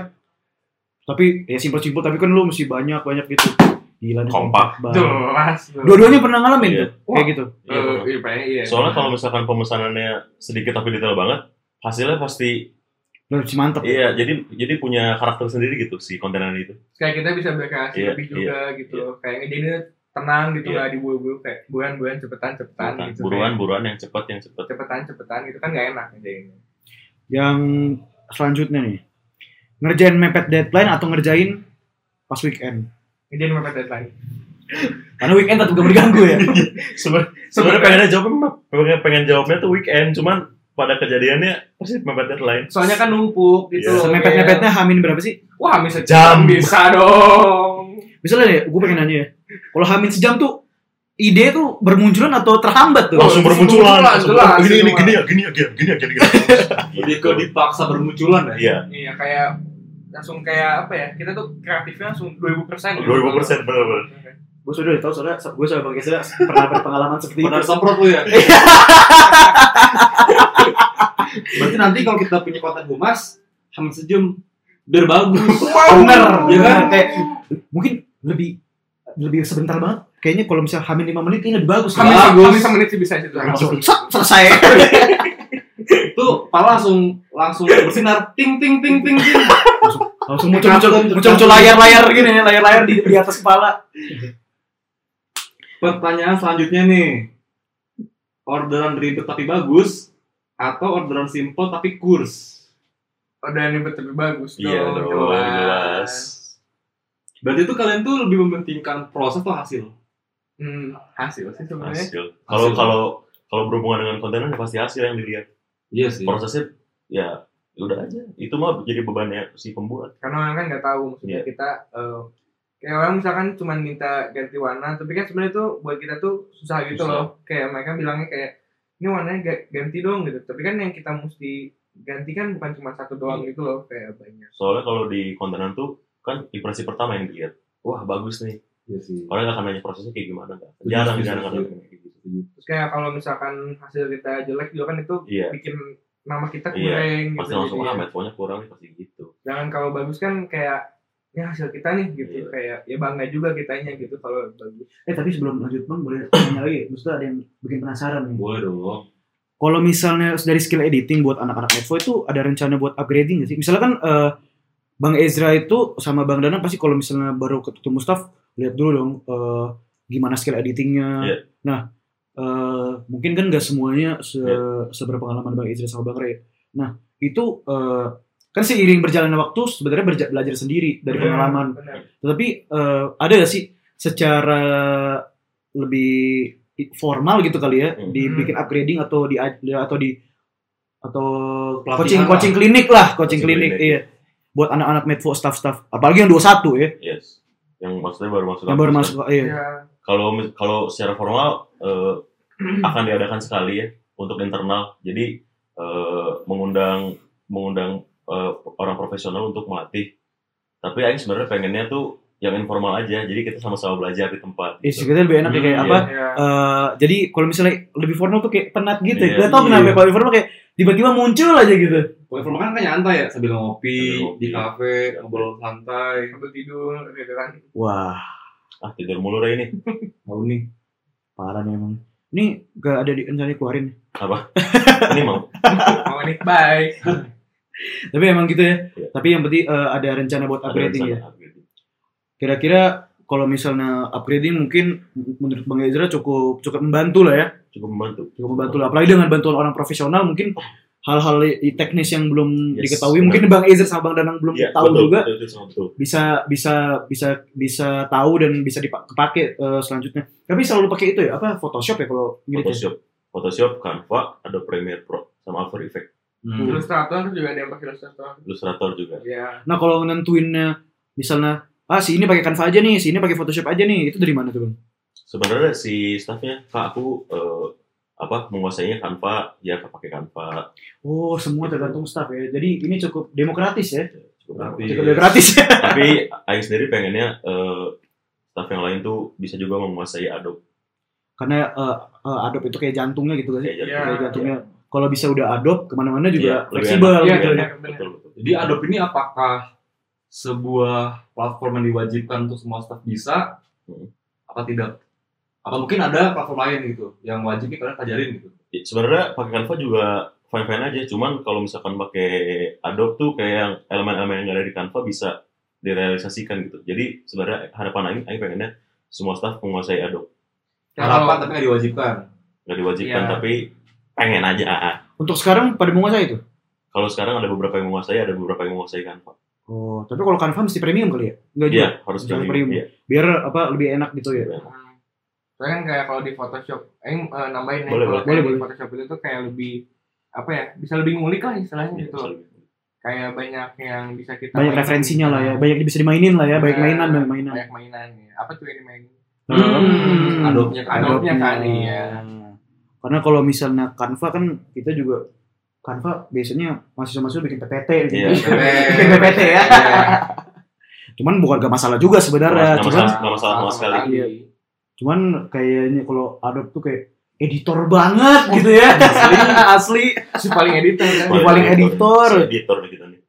S1: tapi ya simpel-simpel tapi kan lu mesti banyak banyak gitu gila nih,
S3: Kompak.
S1: banget
S4: Jelas. tuh.
S1: dua-duanya pernah ngalamin
S3: Iya.
S1: tuh kayak gitu
S3: Iya,
S4: Eh,
S3: benar.
S4: iya, Pak, iya.
S3: Soalnya kalau misalkan pemesanannya sedikit tapi detail banget, hasilnya pasti
S1: lu mesti mantep
S3: iya jadi jadi punya karakter sendiri gitu si kontenan itu.
S4: kayak kita bisa berkreasi
S3: Iya,
S4: lebih
S3: iya,
S4: juga gitu
S3: iya.
S4: kayak ngejadinya tenang gitu
S3: Iya.
S4: nggak diburu-buru kayak buan-buan cepetan cepetan
S3: Bukan,
S4: gitu
S3: buruan buruan yang cepat yang
S4: Kayak
S3: cepat.
S4: cepetan cepetan gitu kan nggak enak ngejadinya
S1: yang selanjutnya nih ngerjain mepet deadline atau ngerjain pas weekend
S4: ngejadinya mepet deadline
S1: karena weekend tetap gak berganggu ya
S3: Sebenarnya sebenarnya pengennya jawabnya pengen, pengen jawabnya tuh weekend, cuman pada kejadiannya pasti mepet deadline.
S4: soalnya kan numpuk gitu
S3: Iya.
S4: loh
S1: semepet-mepetnya hamin berapa sih
S4: kayak, wah bisa
S3: Jam.
S4: bisa dong
S1: misalnya nih gue pengen nanya ya kalau hamin sejam tuh ide tuh bermunculan atau terhambat tuh
S3: Langsung bermunculan.
S4: Oh, bermunculan,
S3: langsung
S4: jelas,
S3: ber- gini ini
S4: itu
S3: gini ya, gini ya, gini ya, gini ya.
S2: Lebih ke dipaksa bermunculan ya.
S3: Iya,
S4: iya kayak langsung kayak apa ya kita tuh kreatifnya langsung 2000 persen gitu.
S3: 2000% bener-bener.
S1: gue sudah tahu soalnya gue sama bang Ezra pernah berpengalaman seperti
S2: Benar semprot lu ya. Berarti nanti kalau kita punya konten humas, hamil sejam biar bagus.
S1: bener
S2: Iya kan?
S1: kayak Eh, mungkin lebih lebih sebentar banget kayaknya kalau misal hamin 5 menit ini lebih bagus
S4: kami
S1: kan?
S2: Bagus.
S4: kami semenit sih bisa sih tuh
S1: langsung set, selesai
S2: Itu pala langsung langsung bersinar ting ting ting ting ting.
S1: langsung muncul muncul muncul, muncul layar layar gini ya layar layar di, di atas kepala
S2: Pertanyaan selanjutnya nih. Orderan ribet tapi bagus atau orderan simple tapi kurs?
S4: udah nih Oh, lebih bagus
S3: Iya dong, jelas.
S2: Berarti itu kalian tuh lebih mementingkan proses atau hasil?
S4: hmm, hasil sih sebenarnya
S3: Hasil. Kalau
S2: Hasil.
S3: kalau kalau berhubungan dengan kontenan ya pasti hasil yang dilihat.
S2: Iya sih.
S3: Prosesnya ya udah aja. Itu mah jadi bebannya si pembuat.
S4: karena orang kan nggak tahu
S3: Iya.
S4: maksudnya kita eh, kayak orang misalkan cuma minta ganti warna tapi kan sebenarnya itu buat kita tuh susah gitu
S3: Susah.
S4: loh kayak mereka bilangnya kayak ini warnanya ga- ganti dong gitu tapi kan yang kita mesti ganti kan bukan cuma satu doang
S3: Iya.
S4: gitu loh kayak banyak
S3: Soalnya kalau di kontenan tuh kan impresi pertama yang dilihat. Wah bagus nih.
S2: Iya sih.
S3: Orang nggak akan nanya prosesnya kayak gimana nggak. Jarang
S2: Setuju,
S3: jarang akan
S2: setuju.
S3: nanya kayak gitu.
S4: terus kayak kalau misalkan hasil kita jelek juga kan itu
S3: Iya.
S4: bikin nama kita
S3: Iya,
S4: kurang
S3: Pasti
S4: gitu
S3: langsung ah
S4: jadinya.
S3: metfonya kurang nih pasti gitu.
S4: jangan kalau bagus kan kayak ini hasil kita nih gitu
S3: Iya.
S4: kayak ya bangga juga kitanya gitu kalau bagus
S1: eh tapi sebelum lanjut bang boleh tanya lagi maksudnya ada yang bikin penasaran nih
S2: Boleh dong.
S1: kalau misalnya dari skill editing buat anak-anak Medfo itu ada rencana buat upgrading nggak sih? Misalnya kan eh, Bang Ezra itu sama Bang Danan pasti kalau misalnya baru ketemu staff lihat dulu dong eh, gimana skill editingnya.
S3: Iya.
S1: Nah eh, mungkin kan nggak semuanya se seberpengalaman Bang Ezra sama Bang Ray. Nah itu eh, kan seiring berjalannya waktu sebenarnya berja- belajar
S4: Iya,
S1: sendiri dari pengalaman
S4: Benar.
S1: tapi eh, ada gak sih secara lebih formal gitu kali ya,
S3: Hmm.
S1: dibikin upgrading atau di atau di atau
S2: Pelatihan
S1: coaching
S2: lah.
S1: coaching klinik lah, coaching,
S3: Coaching
S1: klinik,
S3: klinik.
S1: iya. Buat anak-anak medfo staff-staff, apalagi yang 21 ya,
S3: Yes. Yang maksudnya baru masuk.
S1: yang baru
S3: kampus, kan?
S1: masuk iya.
S4: Ya,
S3: Kalau kalau secara formal eh, akan diadakan sekali ya untuk internal. Jadi eh, mengundang mengundang eh, orang profesional untuk melatih. Tapi Aing sebenarnya pengennya tuh yang informal aja. Jadi kita sama-sama belajar di tempat.
S1: Ya,
S3: gitu.
S1: sekitar lebih enak ya, kayak
S3: Hmm,
S1: apa?
S4: ya.
S1: eh, jadi kalau misalnya lebih formal tuh kayak penat gitu.
S3: Iya,
S1: Gak tau
S2: iya.
S1: kenapa kalau informal kayak tiba-tiba muncul aja gitu.
S2: Kalau informal kan kayak nyantai ya sambil ngopi,
S3: Sambil ngopi.
S2: di kafe, ngobrol santai.
S4: sambil tidur gitu kan.
S1: Wah,
S3: Ah tidur mulu Ray, ini.
S2: Tahu nih.
S1: parah nih emang. Ini gak ada di rencana keluarin.
S3: Ini mau.
S4: Mau nih baik.
S1: Hmm. Tapi emang gitu ya.
S3: Iya.
S1: Tapi yang penting eh, ada rencana buat
S3: ada
S1: upgrading
S3: rencana
S1: ya.
S3: upgrading.
S1: Kira-kira kalau misalnya upgrading mungkin menurut Bang Ezra cukup cukup membantu lah ya.
S3: Cukup membantu.
S1: Cukup membantu lah. Apalagi dengan bantuan orang profesional mungkin hal-hal i- teknis yang belum
S3: Yes,
S1: diketahui
S3: benar.
S1: mungkin Bang Ezra sama Bang Danang belum
S3: Iya,
S1: tahu
S3: betul,
S1: juga
S3: Betul, betul, sama betul.
S1: bisa bisa bisa bisa tahu dan bisa dipakai selanjutnya. Tapi selalu pakai itu ya apa Photoshop ya kalau ngedit ya?
S3: Photoshop. Photoshop, Canva, ada Premiere Pro, sama After Effects,
S2: Hmm.
S4: Ilustrator kan juga ada yang pakai ilustrator.
S3: Illustrator juga.
S4: Ya,
S1: Nah, kalau nentuinnya misalnya ah si ini pakai Canva aja nih, si ini pakai Photoshop aja nih, itu dari mana tuh, Bang?
S3: Sebenarnya si staffnya, kak aku eh, apa menguasainya Canva, ya pakai Canva.
S1: Oh, semua tergantung staff ya. Jadi ini cukup demokratis ya.
S3: Cukup
S2: Tapi-
S3: rapi.
S1: Cukup demokratis. ya.
S3: Tapi Aing sendiri pengennya eh, staff yang lain tuh bisa juga menguasai Adobe.
S1: Karena eh, eh, Adobe itu kayak jantungnya gitu kan.
S3: Kayak
S4: Iya.
S1: Kayak jantungnya. Kalau bisa udah Adobe kemana-mana juga
S3: Iya, lebih
S1: fleksibel
S3: enak,
S1: gitu
S3: lebih
S1: ya.
S4: enak.
S3: enak. Betul, betul.
S2: Jadi Adobe ini apakah sebuah platform yang diwajibkan untuk semua staff bisa?
S3: Hmm.
S2: Apa tidak? Apa mungkin ada platform lain gitu yang wajib nih kalian pelajarin gitu?
S3: Ya, Sebenarnya pakai Canva juga fine-fine aja, cuman kalau misalkan pakai Adobe tuh kayak yang elemen-elemen yang ada di Canva bisa direalisasikan gitu. Jadi sebenarnya harapan Aing, Aing pengennya semua staff menguasai Adobe.
S2: Harapan
S4: Kalau
S2: tapi nggak diwajibkan.
S3: Nggak diwajibkan,
S4: Iya.
S3: tapi pengen aja. ah.
S1: Untuk sekarang pada mau saya itu.
S3: Kalau sekarang ada beberapa yang menguasai, ada beberapa yang menguasai Canva.
S1: Oh, tapi kalau Canva mesti premium kali ya? Enggak juga.
S3: Iya, harus
S1: Jangan
S3: premium.
S1: premium.
S3: Iya.
S1: Biar apa lebih enak gitu ya.
S4: Hmm. Soalnya kan kayak kalau di Photoshop, eh eh, nambahin nih,
S3: Boleh,
S4: kalau
S3: boleh.
S4: kayak
S1: Boleh,
S4: di Photoshop itu tuh kayak lebih apa ya bisa lebih ngulik lah istilahnya
S3: Iya,
S4: gitu
S3: bisa lebih.
S4: kayak banyak yang bisa kita
S1: Banyak
S4: mainin.
S1: referensinya lah ya, banyak bisa dimainin lah ya, banyak
S3: Iya.
S4: Nah,
S1: mainan, banyak mainan.
S4: banyak mainan ya. apa tuh yang dimainin
S2: Hmm.
S1: Hmm.
S2: Adobe-nya kan.
S4: Adobe. Adobe-nya kan,
S3: ya.
S4: iya.
S1: Karena kalau misalnya Canva kan kita juga Canva biasanya mahasiswa-mahasiswa bikin PPT gitu.
S3: Iya.
S1: bikin PPT ya.
S4: Iya.
S1: Cuman bukan gak masalah juga sebenarnya.
S3: Nggak
S1: Cuman,
S3: masalah. nggak sama sekali.
S1: Iya. cuman kayaknya kalau Adobe tuh kayak editor banget gitu ya. Asli.
S4: si paling editor kan
S1: Paling- editor.
S3: Si editor gitu nih.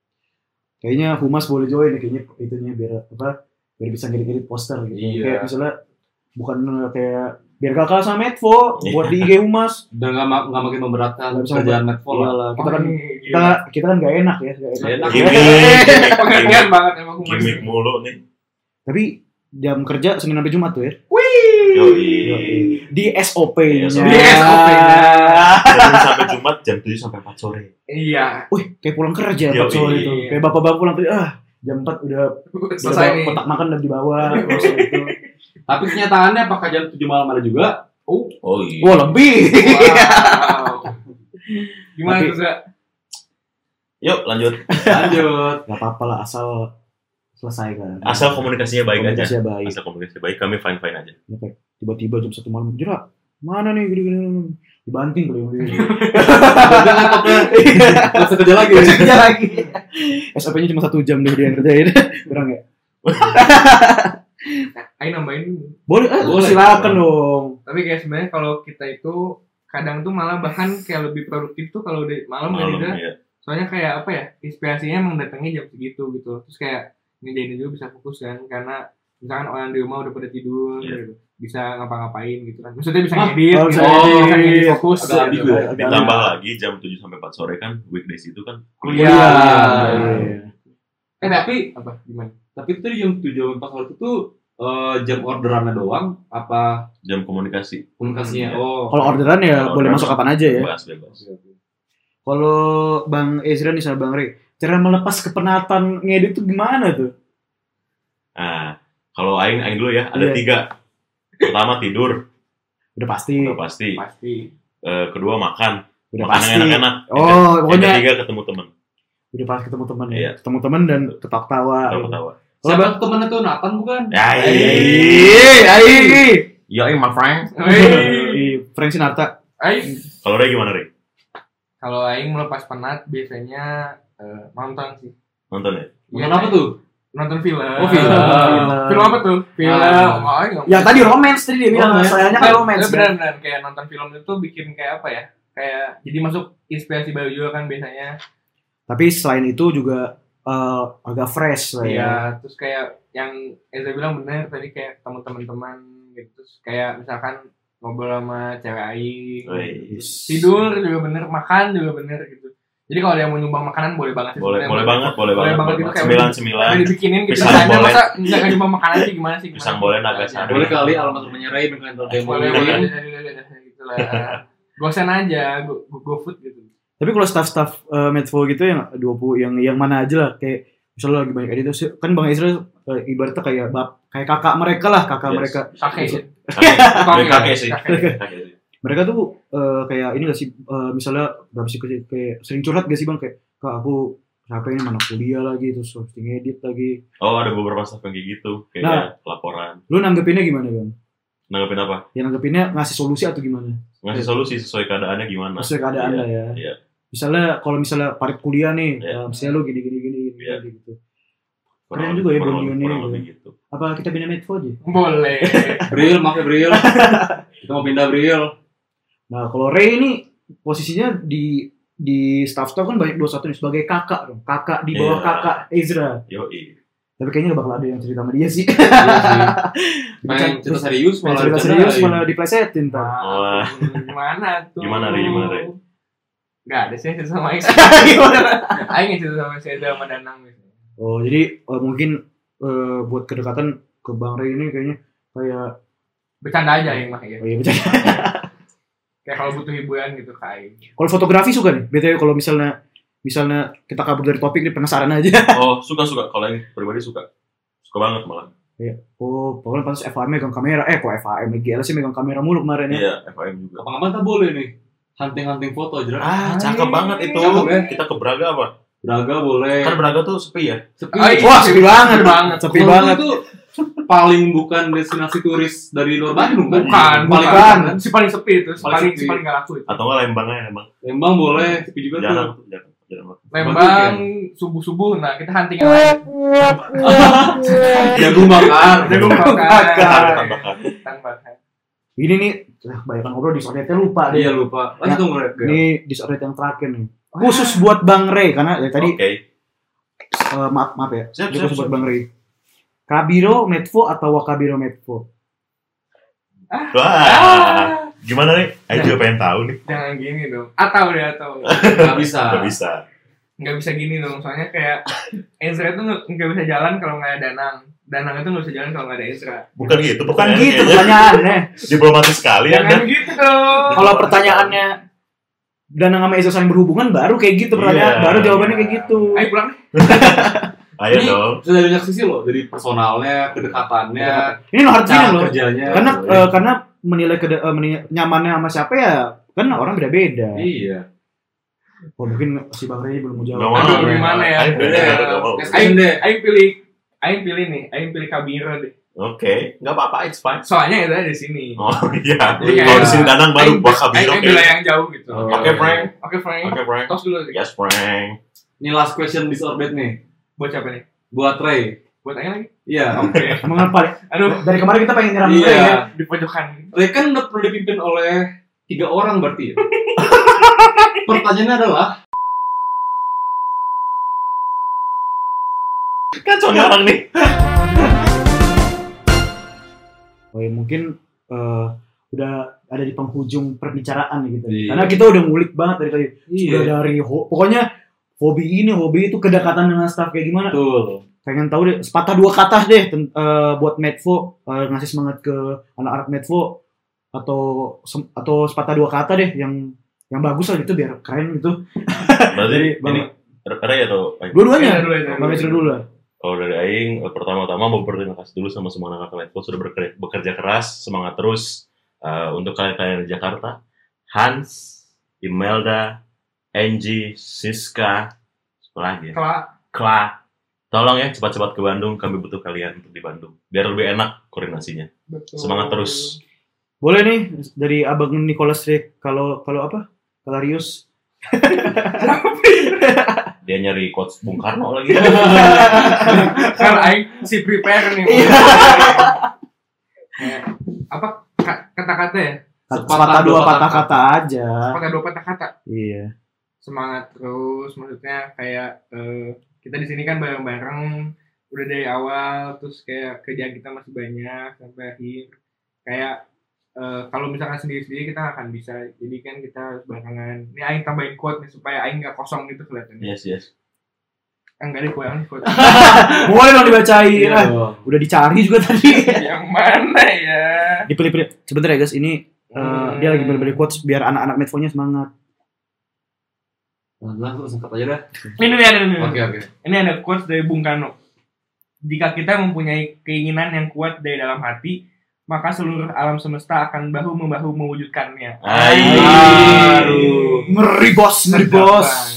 S1: Kayaknya Humas boleh join ya, kayaknya itunya biar apa? Biar bisa ngedit-ngedit poster gitu.
S2: Iya.
S1: Kayak misalnya bukan eh, kayak biar gak kalah sama Medfo
S2: Iya.
S1: buat di IG Humas.
S2: Dan nggak ma- nggak makin memberatkan
S1: Nggak bisa
S2: kerjaan Medfall Iya lah.
S1: Iyalah, kita kan
S4: Wah, ini
S1: kita
S4: gila.
S1: kita kan gak enak ya, gak enak.
S2: Nggak enak.
S3: Gimik,
S4: pengertian
S3: gimik,
S4: banget emang humas
S3: gimik mulu nih.
S1: Tapi jam kerja Senin sampai Jumat tuh ya.
S3: Yoi.
S1: Di
S2: Iya,
S1: SOP-nya.
S3: Di
S4: SOP-nya.
S3: Senin sampai Jumat jam 7 sampai 4 sore.
S4: iya
S1: Wih, kayak pulang kerja
S2: Iya,
S3: Yoi.
S1: Pak Sol itu. Kayak bapak-bapak pulang kerja, ah, jam 4 udah
S4: selesai
S1: udah
S4: nih
S1: kotak makan udah dibawa. terus itu.
S2: Tapi kenyataannya apakah jam 7 malam ada juga?
S3: Oh iya.
S1: Wah, lebih.
S4: Wow. gimana
S1: Tapi-
S4: tuh Zak?
S3: Yuk lanjut.
S2: Lanjut.
S1: Gak apa-apa lah asal selesai kan.
S3: Asal komunikasinya baik aja.
S1: Komunikasinya baik.
S3: Asal komunikasi baik, kami fine fine aja.
S1: Tiba-tiba jam 1 malam, jerak. Mana nih gini-gini dibanting kali ini.
S2: Udah laptopnya. Nggak usah kerja lagi.
S1: Kerja lagi. SOP-nya cuma satu jam deh dia yang kerjain. Kurang ya?
S4: Ayo nambahin dulu.
S1: Boleh, eh,
S2: Boleh.
S1: silakan dong.
S4: Tapi kayak sebenarnya kalau kita itu kadang tuh malah bahkan kayak lebih produktif tuh kalau udah malam, kan
S3: Malam
S4: Indra?
S3: ya.
S4: Soalnya kayak apa ya? Inspirasinya emang datangnya jam segitu gitu. Terus kayak ngejain juga bisa fokus kan karena misalkan orang di rumah udah pada tidur
S3: Iya.
S4: gitu. bisa ngapa-ngapain gitu kan. Maksudnya bisa
S2: Hah?
S4: ngedit,
S1: Oh,
S4: bisa,
S1: bisa
S4: ngedit, bisa
S1: ngedit.
S4: ngedit fokus.
S2: Agak lebih
S4: gitu.
S2: gue.
S1: Ada-
S3: Ditambah lagi jam 7 sampai 4 sore kan weekdays itu kan
S4: Kuliah.
S1: Iya.
S4: Eh,
S2: Eh,
S4: tapi
S2: tapi
S4: apa gimana?
S2: tapi itu di jam 7 sampai 4 sore itu eh, jam orderannya doang apa
S3: jam komunikasi.
S2: komunikasinya?
S3: Iya.
S2: Oh.
S1: Kalau orderan ya
S3: Kalau
S1: boleh
S3: orderan
S1: masuk kapan aja ya.
S3: Bebas bebas.
S1: Kalau Bang Ezra nih sama Bang Ray, cara melepas kepenatan ngedit tuh gimana tuh?
S3: Nah, kalau aing aing dulu ya
S1: Iya.
S3: ada tiga. Pertama tidur,
S1: Udah pasti.
S3: udah pasti
S4: pasti
S3: Eh, kedua makan
S1: Iya. Udah
S3: makan
S1: pasti.
S3: yang enak-enak Yang
S1: Oh,
S3: ke- yang
S1: pokoknya
S3: ketiga ketemu teman
S1: udah pasti ketemu teman ya.
S3: Iya.
S1: Ketemu teman dan ketawa-tawa.
S3: ketawa-tawa
S1: Kalau
S2: Siapa
S1: Bang-
S2: temennya tuh Nathan bukan?
S3: Ya, iya.
S1: Iya, iya.
S3: yo my friend
S4: Iya.
S3: Iya.
S4: Hei.
S1: Frank Sinatra.
S4: Aing
S3: kalau Ray gimana Ray
S4: kalau Aing melepas penat biasanya eh, nonton sih
S3: nonton ya
S2: Bukan
S4: Iya,
S2: apa
S4: Aing.
S2: tuh?
S4: nonton film
S2: Oh, film.
S4: Iya. film apa tuh film
S2: Ah.
S4: oh, Aing nggak-
S1: Yang
S4: Eh,
S1: Iya. Ya, tadi romance tadi dia bilang,
S2: Romance.
S1: sayangnya kan
S4: Tapi
S1: romance. kan?
S4: benar-benar kayak nonton film itu bikin kayak apa ya kayak jadi masuk inspirasi baru juga kan biasanya
S1: Tapi selain itu juga eh, agak fresh lah ya.
S4: Iya, terus kayak yang Eza bilang bener tadi kayak ketemu teman-teman gitu terus kayak misalkan ngobrol sama cewek Aing
S3: Ray.
S4: tidur juga bener makan juga bener gitu jadi kalau ada yang mau nyumbang makanan boleh banget sih
S3: boleh
S4: sebenarnya.
S3: boleh banget boleh
S4: Boleh
S3: banget
S4: banget itu kayak-
S3: sembilan sembilan
S4: Tapi dibikinin gitu
S3: Pisang
S4: misalnya
S3: boleh.
S4: masa nggak nggak nyumbang makanan sih gimana sih gimana
S3: Pisang
S4: sih?
S3: boleh, naga
S4: Aja.
S3: sari.
S2: Boleh kali alamat rumahnya Ray dengan kantor demo. Iya,
S4: boleh boleh gitu lah gosen aja go, go, food gitu
S1: Tapi kalau staff-staff eh, Medfo gitu yang 20 yang yang mana aja lah kayak misalnya lagi banyak editor sih, kan Bang Ezra eh, ibaratnya kayak bab kayak kakak mereka lah, kakak
S3: Yes.
S1: mereka.
S4: kakek
S1: Gitu.
S3: Kakek. Kakek sih.
S4: kakek.
S3: Kakek sih.
S1: Mereka tuh eh, kayak ini gak sih eh, misalnya gak sih kayak, kayak sering curhat gak sih Bang kayak kak aku capek ini mana kuliah lagi terus harus ngedit lagi.
S3: oh ada beberapa staff yang kayak gitu kayaknya laporan
S1: Lu nanggepinnya gimana Bang?
S3: nanggepin apa
S1: Ya nanggepinnya ngasih solusi atau gimana?
S3: ngasih solusi sesuai keadaannya gimana
S1: Maksudnya keadaan
S3: Iya,
S1: lah ya.
S3: iya.
S1: Misalnya kalau misalnya parit kuliah nih,
S3: Iya.
S1: eh, misalnya lu gini gini gini gini,
S3: Iya.
S1: gini gitu.
S3: Kurang
S1: Keren
S3: lebih-
S1: juga ya
S3: kurang
S1: Bang
S3: lebih-
S1: Yuni
S3: kurang
S1: ya.
S3: lebih gitu
S1: Apa kita pindah Medfo aja?
S4: boleh
S2: Bril, maaf ya Bril. Kita mau pindah Bril.
S1: Nah, kalau Ray ini posisinya di di staff staff kan banyak 21 nih sebagai kakak dong. Kakak di bawah
S3: Iya.
S1: kakak Ezra.
S3: Yoi.
S1: Tapi kayaknya gak bakal ada yang cerita sama dia sih.
S2: Iya sih.
S1: Dipecah-
S2: Pengen cerita
S1: terus-
S2: serius
S1: pengen
S2: malah
S1: cerita
S2: bercanda
S1: serius
S2: kali.
S1: malah diplesetin ntar.
S3: Wah.
S4: gimana tuh
S3: Gimana, Ri? Gimana, Ri?
S4: Gak ada sih cerita sama Aing. Aing yang cerita sama Seda sama Danang gitu.
S1: Oh, jadi eh, mungkin eh, buat kedekatan ke Bang Ray ini kayaknya kayak
S4: Bercanda aja Aing mah ya.
S1: oh iya, bercanda.
S4: Kayak kalau butuh hiburan gitu ke Aing.
S1: Kalau fotografi suka nih. BTW kalau misalnya misalnya kita kabur dari topik nih penasaran aja.
S3: oh suka suka kalau yang pribadi suka suka banget malah
S1: Oh, pokoknya pantas FAM megang kamera. Eh, kok FAM lagi sih megang kamera mulu kemarin ya.
S3: iya FAM juga
S2: Kapan-kapan tak boleh nih. Hunting-hunting foto aja.
S3: ah cakep banget itu
S2: Cakep ya?
S3: kita ke Braga apa
S2: Braga boleh.
S3: kan Braga tuh sepi
S2: Iya.
S3: ya
S2: Sepi.
S4: Ay,
S1: Wah, sepi banget.
S4: Sepi banget.
S1: Sepi
S2: Kalau
S1: banget.
S2: Itu paling bukan destinasi turis dari luar Bandung kan?
S4: Bukan,
S2: paling
S1: bukan.
S2: kan?
S4: Si paling sepi itu, si
S2: Paling
S4: paling
S2: sepi.
S4: si paling gak laku itu.
S3: atau nggak Lembangnya Lembang
S2: Lembang boleh, sepi juga tuh.
S3: jarang tuh jarang jarang banget
S4: Lembang subuh subuh, nah kita hunting yang lain.
S2: Jagung bakar.
S4: Jagung
S1: bakar.
S4: bakar.
S3: Tambahkan.
S4: Hutan bakar.
S1: Ini nih, nah, banyak ngobrol di sosmednya lupa Ah. nih.
S2: Iya lupa. Lanjut dong mereka.
S1: Ini disorder yang terakhir nih. Khusus buat Bang Ray karena ya, tadi
S3: oke
S1: eh, maaf maaf ya.
S3: Siap,
S1: Ini
S3: siap,
S1: khusus buat
S3: siap.
S1: Bang Ray. Kabiro Medfo atau Wakabiro Medfo?
S3: wah
S4: Ah,
S3: gimana nih Ayo juga pengen tahu nih
S4: jangan gini dong. Atau deh atau. ya.
S2: Gak bisa.
S3: nggak bisa
S4: nggak bisa gini dong soalnya kayak Ezra itu nggak bisa jalan kalau nggak ada Danang Danang itu nggak bisa jalan kalau nggak ada Ezra
S3: bukan gitu
S1: Bukan
S3: pertanyaannya
S1: gitu
S3: kayaknya.
S1: pertanyaannya.
S3: diplomatis sekali
S4: jangan
S3: anda
S4: gitu dong
S1: Kalau pertanyaannya dan sama Ezra saling berhubungan baru kayak gitu pertanyaan,
S3: Iya.
S1: baru jawabannya kayak gitu.
S4: ayo pulang deh.
S3: ayo
S2: Ini-
S3: ya dong
S2: Bisa dari banyak sisi loh, dari personalnya, kedekatannya,
S1: Ini loh hard
S2: cara
S1: feeling loh.
S2: kerjanya. Iya.
S1: Karena eh, karena menilai kede, eh, menilai- nyamannya sama siapa ya kan orang beda-beda.
S2: iya.
S1: Oh, mungkin si Bang Ray belum mau
S3: nggak
S1: jawab.
S3: mau
S4: Aduh, gimana ya?
S3: Oh, iya. Ayo,
S2: Udah,
S3: ayo, nggak mau.
S2: next
S4: Ayo
S2: question deh.
S4: ayo pilih ayo pilih nih ayo pilih Kabiro deh
S3: oke nggak apa-apa it's fine
S4: soalnya Ezra ada di sini
S3: oh iya
S4: Iya.
S3: kalau di sini Danang baru
S4: Ayo-
S3: buat Oh, kabiro
S4: ayo
S3: oke
S4: pilih yang jauh gitu
S2: Oh.
S3: oke Frank
S4: oke Frank
S3: oke Frank
S4: tos dulu deh
S3: yes Frank
S2: Ini last question disorbet nih
S4: buat siapa nih
S2: buat Ray.
S4: buat Aing lagi
S2: Iya.
S4: oke
S1: Mengapa?
S4: aduh
S1: Dari kemarin kita pengen nyerang Ray ya.
S2: Iya.
S4: di pojokan
S2: Ray kan udah perlu dipimpin oleh tiga orang berarti ya? Pertanyaannya adalah
S3: kacau nih orang nih
S1: Oh ya mungkin eh, udah ada di penghujung perbicaraan ya gitu.
S2: Iya.
S1: Karena kita udah ngulik banget dari tadi. Udah dari ho- pokoknya hobi ini, hobi itu kedekatan dengan staff kayak gimana?
S2: Betul.
S1: Pengen tahu deh sepatah dua kata deh ten- eh, buat Medfo eh, ngasih semangat ke anak-anak Medfo atau sem- atau sepatah dua kata deh yang yang bagus lah gitu biar keren gitu.
S3: berarti
S1: Jadi, Bang-
S3: ini Ray atau Aing?
S1: Iya,
S4: Ezra
S1: Dua-duanya.
S4: dulu Ezra
S1: Bang Ezra
S4: dulu
S1: dulu lah.
S3: Kalau dari Aing, eh, pertama-tama mau berterima kasih dulu sama semua anak-anak Medco sudah berker- bekerja keras, semangat terus Eh, untuk kalian-kalian di Jakarta, Hans, Imelda, Angie, Siska, siapa lagi ya?
S4: Kelak
S3: Kla, tolong ya cepat-cepat ke Bandung. Kami butuh kalian untuk di Bandung. Biar lebih enak koordinasinya.
S4: betul.
S3: Semangat terus.
S1: Boleh nih dari Abang Nicholas Rick kalau kalau apa? Kalarius.
S3: Dia nyari quotes Bung Karno lagi.
S4: Kan aing si prepare nih. Kayak, apa ka- kata-kata ya?
S1: Patah dua patah kata aja.
S4: Pakai dua patah kata.
S1: Iya.
S4: Semangat terus maksudnya kayak eh, kita di sini kan bareng-bareng udah dari awal terus kayak kerjaan kita masih banyak sampai akhir. Kayak eh, kalau misalkan sendiri-sendiri kita nggak akan bisa. Jadi kan kita harus barengan. Ini aing tambahin quote nih supaya aing nggak kosong gitu kelihatannya.
S3: yes, yes.
S4: Enggak deh, kurang quote.
S1: Boleh dong
S3: Iya.
S1: dibacain. Ah,
S2: Iya dong.
S1: udah dicari juga tadi.
S4: Yang mana ya?
S1: Dipilih-pilih. Sebentar ya guys, ini eh,
S4: Hmm.
S1: dia lagi beri quotes biar anak-anak medfonya semangat.
S2: Nah, langsung singkat aja dah.
S4: Ini nih, ini, ini.
S2: Oke, oke.
S4: Ini ada quotes dari Bung Karno. Jika kita mempunyai keinginan yang kuat dari dalam hati, maka seluruh alam semesta akan bahu-membahu mewujudkannya.
S3: Aiy.
S2: Aduh.
S1: Ngeri bos, ngeri
S4: Sedap
S1: bos.
S4: banget.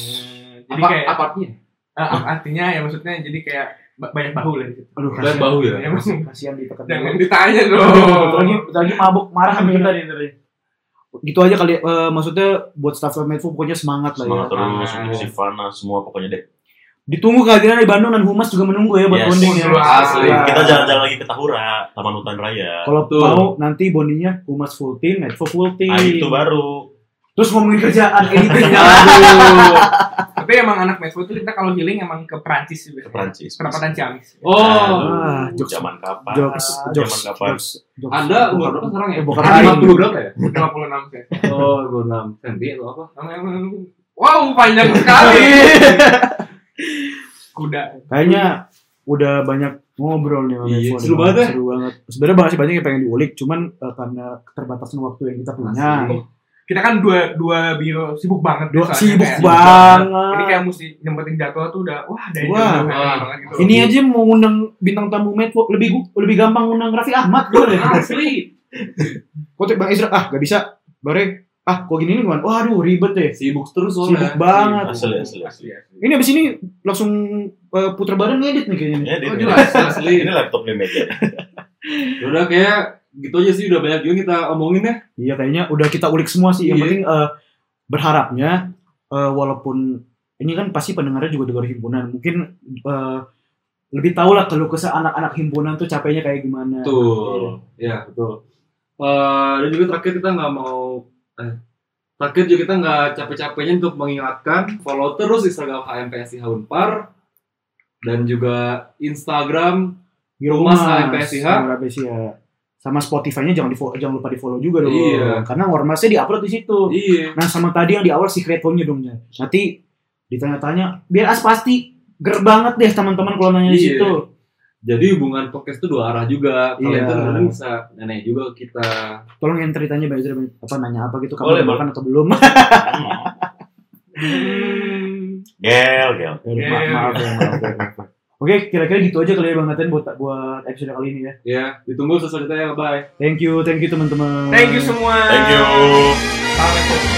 S4: Jadi
S2: Apa
S4: kayak
S2: apa artinya?
S4: eh, apa artinya ya maksudnya jadi kayak ba- banyak bahu lah gitu.
S1: Aduh,
S2: Dan
S1: kasihan.
S2: bahu
S3: Oh
S2: ya.
S3: iya.
S4: Ya, maksudnya,
S1: Kasihan ditekan.
S4: Jangan ditanya
S1: Aduh, bentar lagi,
S4: dong.
S1: bentar lagi mabuk marah sama kita nih, bentar lagi. Gitu aja kali, eh, maksudnya buat staff Medfo pokoknya semangat lah
S3: Semangat
S1: ya.
S3: terus.
S4: Ah.
S3: Untuk Sivana, semua pokoknya deh.
S1: Ditunggu kehadiran di Bandung dan Humas juga menunggu ya buat
S3: Yes.
S1: bonding ya.
S2: Asli.
S1: Ya.
S4: Ah.
S3: Kita jalan-jalan lagi ke Tahura, Taman Hutan Raya.
S1: Kalau
S2: Betul.
S1: mau nanti bondingnya Humas full team, Medfo full team.
S3: Ah, itu baru.
S1: Terus ngomongin kerjaan, editingnya.
S2: Aduh.
S4: Tapi emang anak Medfo itu kita kalau healing emang ke Prancis juga.
S3: Ke Perancis.
S4: Perempatan Ciamis.
S2: Oh.
S1: Ah,
S3: Aduh,
S1: jokes-
S3: zaman kapan?
S1: jokes, jokes,
S3: zaman kapan?
S1: jokes, jokes.
S2: Anda umur berapa sekarang ya?
S1: Eh, bukan
S2: Kan
S1: aing.
S2: 50 berapa ya?
S4: 56 ya.
S2: Oh, 26 senti atau apa?
S4: Wow, panjang sekali. Kuda.
S1: Kayaknya udah banyak ngobrol nih sama
S2: Iya,
S1: Medfo
S2: seru
S1: nih.
S2: banget ya.
S1: Seru banget. Sebenarnya banyak banyak yang pengen diulik, cuman eh, karena keterbatasan waktu yang kita punya.
S2: Asli.
S4: kita kan dua dua biro sibuk banget
S1: Dua,
S4: soalnya
S1: sibuk
S4: kayak-
S1: banget.
S4: ini kayak mesti nyempetin jadwal tuh udah wah dari
S1: Wah.
S4: jauh-jauh hari
S2: Wah.
S4: banget gitu
S1: Ini aja mau ngundang bintang tamu Medfo lebih gu- lebih gampang ngundang Raffi Ahmad gue deh.
S4: asli
S1: Kocek Bang Isra ah gak bisa. Bare ah kok gini nih gimana? Waduh ribet deh.
S2: Sibuk terus
S1: Sibuk banget.
S3: Asli, asli, asli.
S1: Ini abis ini langsung eh, puter bareng ngedit nih kayaknya. nih.
S3: Ya,
S2: Oh,
S3: di-
S2: jelas, asli.
S3: ini laptop nih meja.
S2: Ya Udah kayak gitu aja sih udah banyak juga kita omongin ya.
S1: Iya kayaknya udah kita ulik semua sih. Yang
S2: Iya.
S1: penting eh, berharapnya eh, walaupun ini kan pasti pendengarnya juga dari himpunan. Mungkin eh, lebih tahu lah kalau kesah anak-anak himpunan tuh capeknya kayak gimana.
S2: Betul. Ya, betul. Eh, dan juga terakhir kita nggak mau eh, terakhir juga kita nggak capek-capeknya untuk mengingatkan follow terus Instagram HMPSI Haunpar dan juga Instagram
S1: Biro
S2: Humas
S1: Humas,
S2: HMPSIH.
S1: Biro HMPSIH. Sama Spotify-nya jangan di jangan lupa di follow juga dong.
S2: Iya.
S1: Karena ormasnya di-upload di situ.
S2: iya
S1: Nah sama tadi yang di awal secret home-nya dong ya. Nanti ditanya-tanya biar as pasti ger banget deh teman-teman kalau nanya di
S2: Iya.
S1: situ.
S2: jadi hubungan podcast itu dua arah juga
S1: Iya.
S2: kalian tuh kadang bisa nanya juga ke kita
S1: Tolong yang ceritanya Mbak Ezra apa nanya apa gitu kamu
S3: Boleh,
S1: udah makan atau belum?
S3: Gel, gel.
S1: Aduh, maaf, maaf,
S4: Iya, iya,
S1: ya, maaf, ya, maaf, ya. Oke, kira-kira gitu aja kali ya Bang Nathan buat buat episode kali ini ya.
S2: ya ditunggu selanjutnya bye
S1: Thank you, thank you teman-teman.
S4: thank you semua
S3: Thank you.
S4: sampai jumpa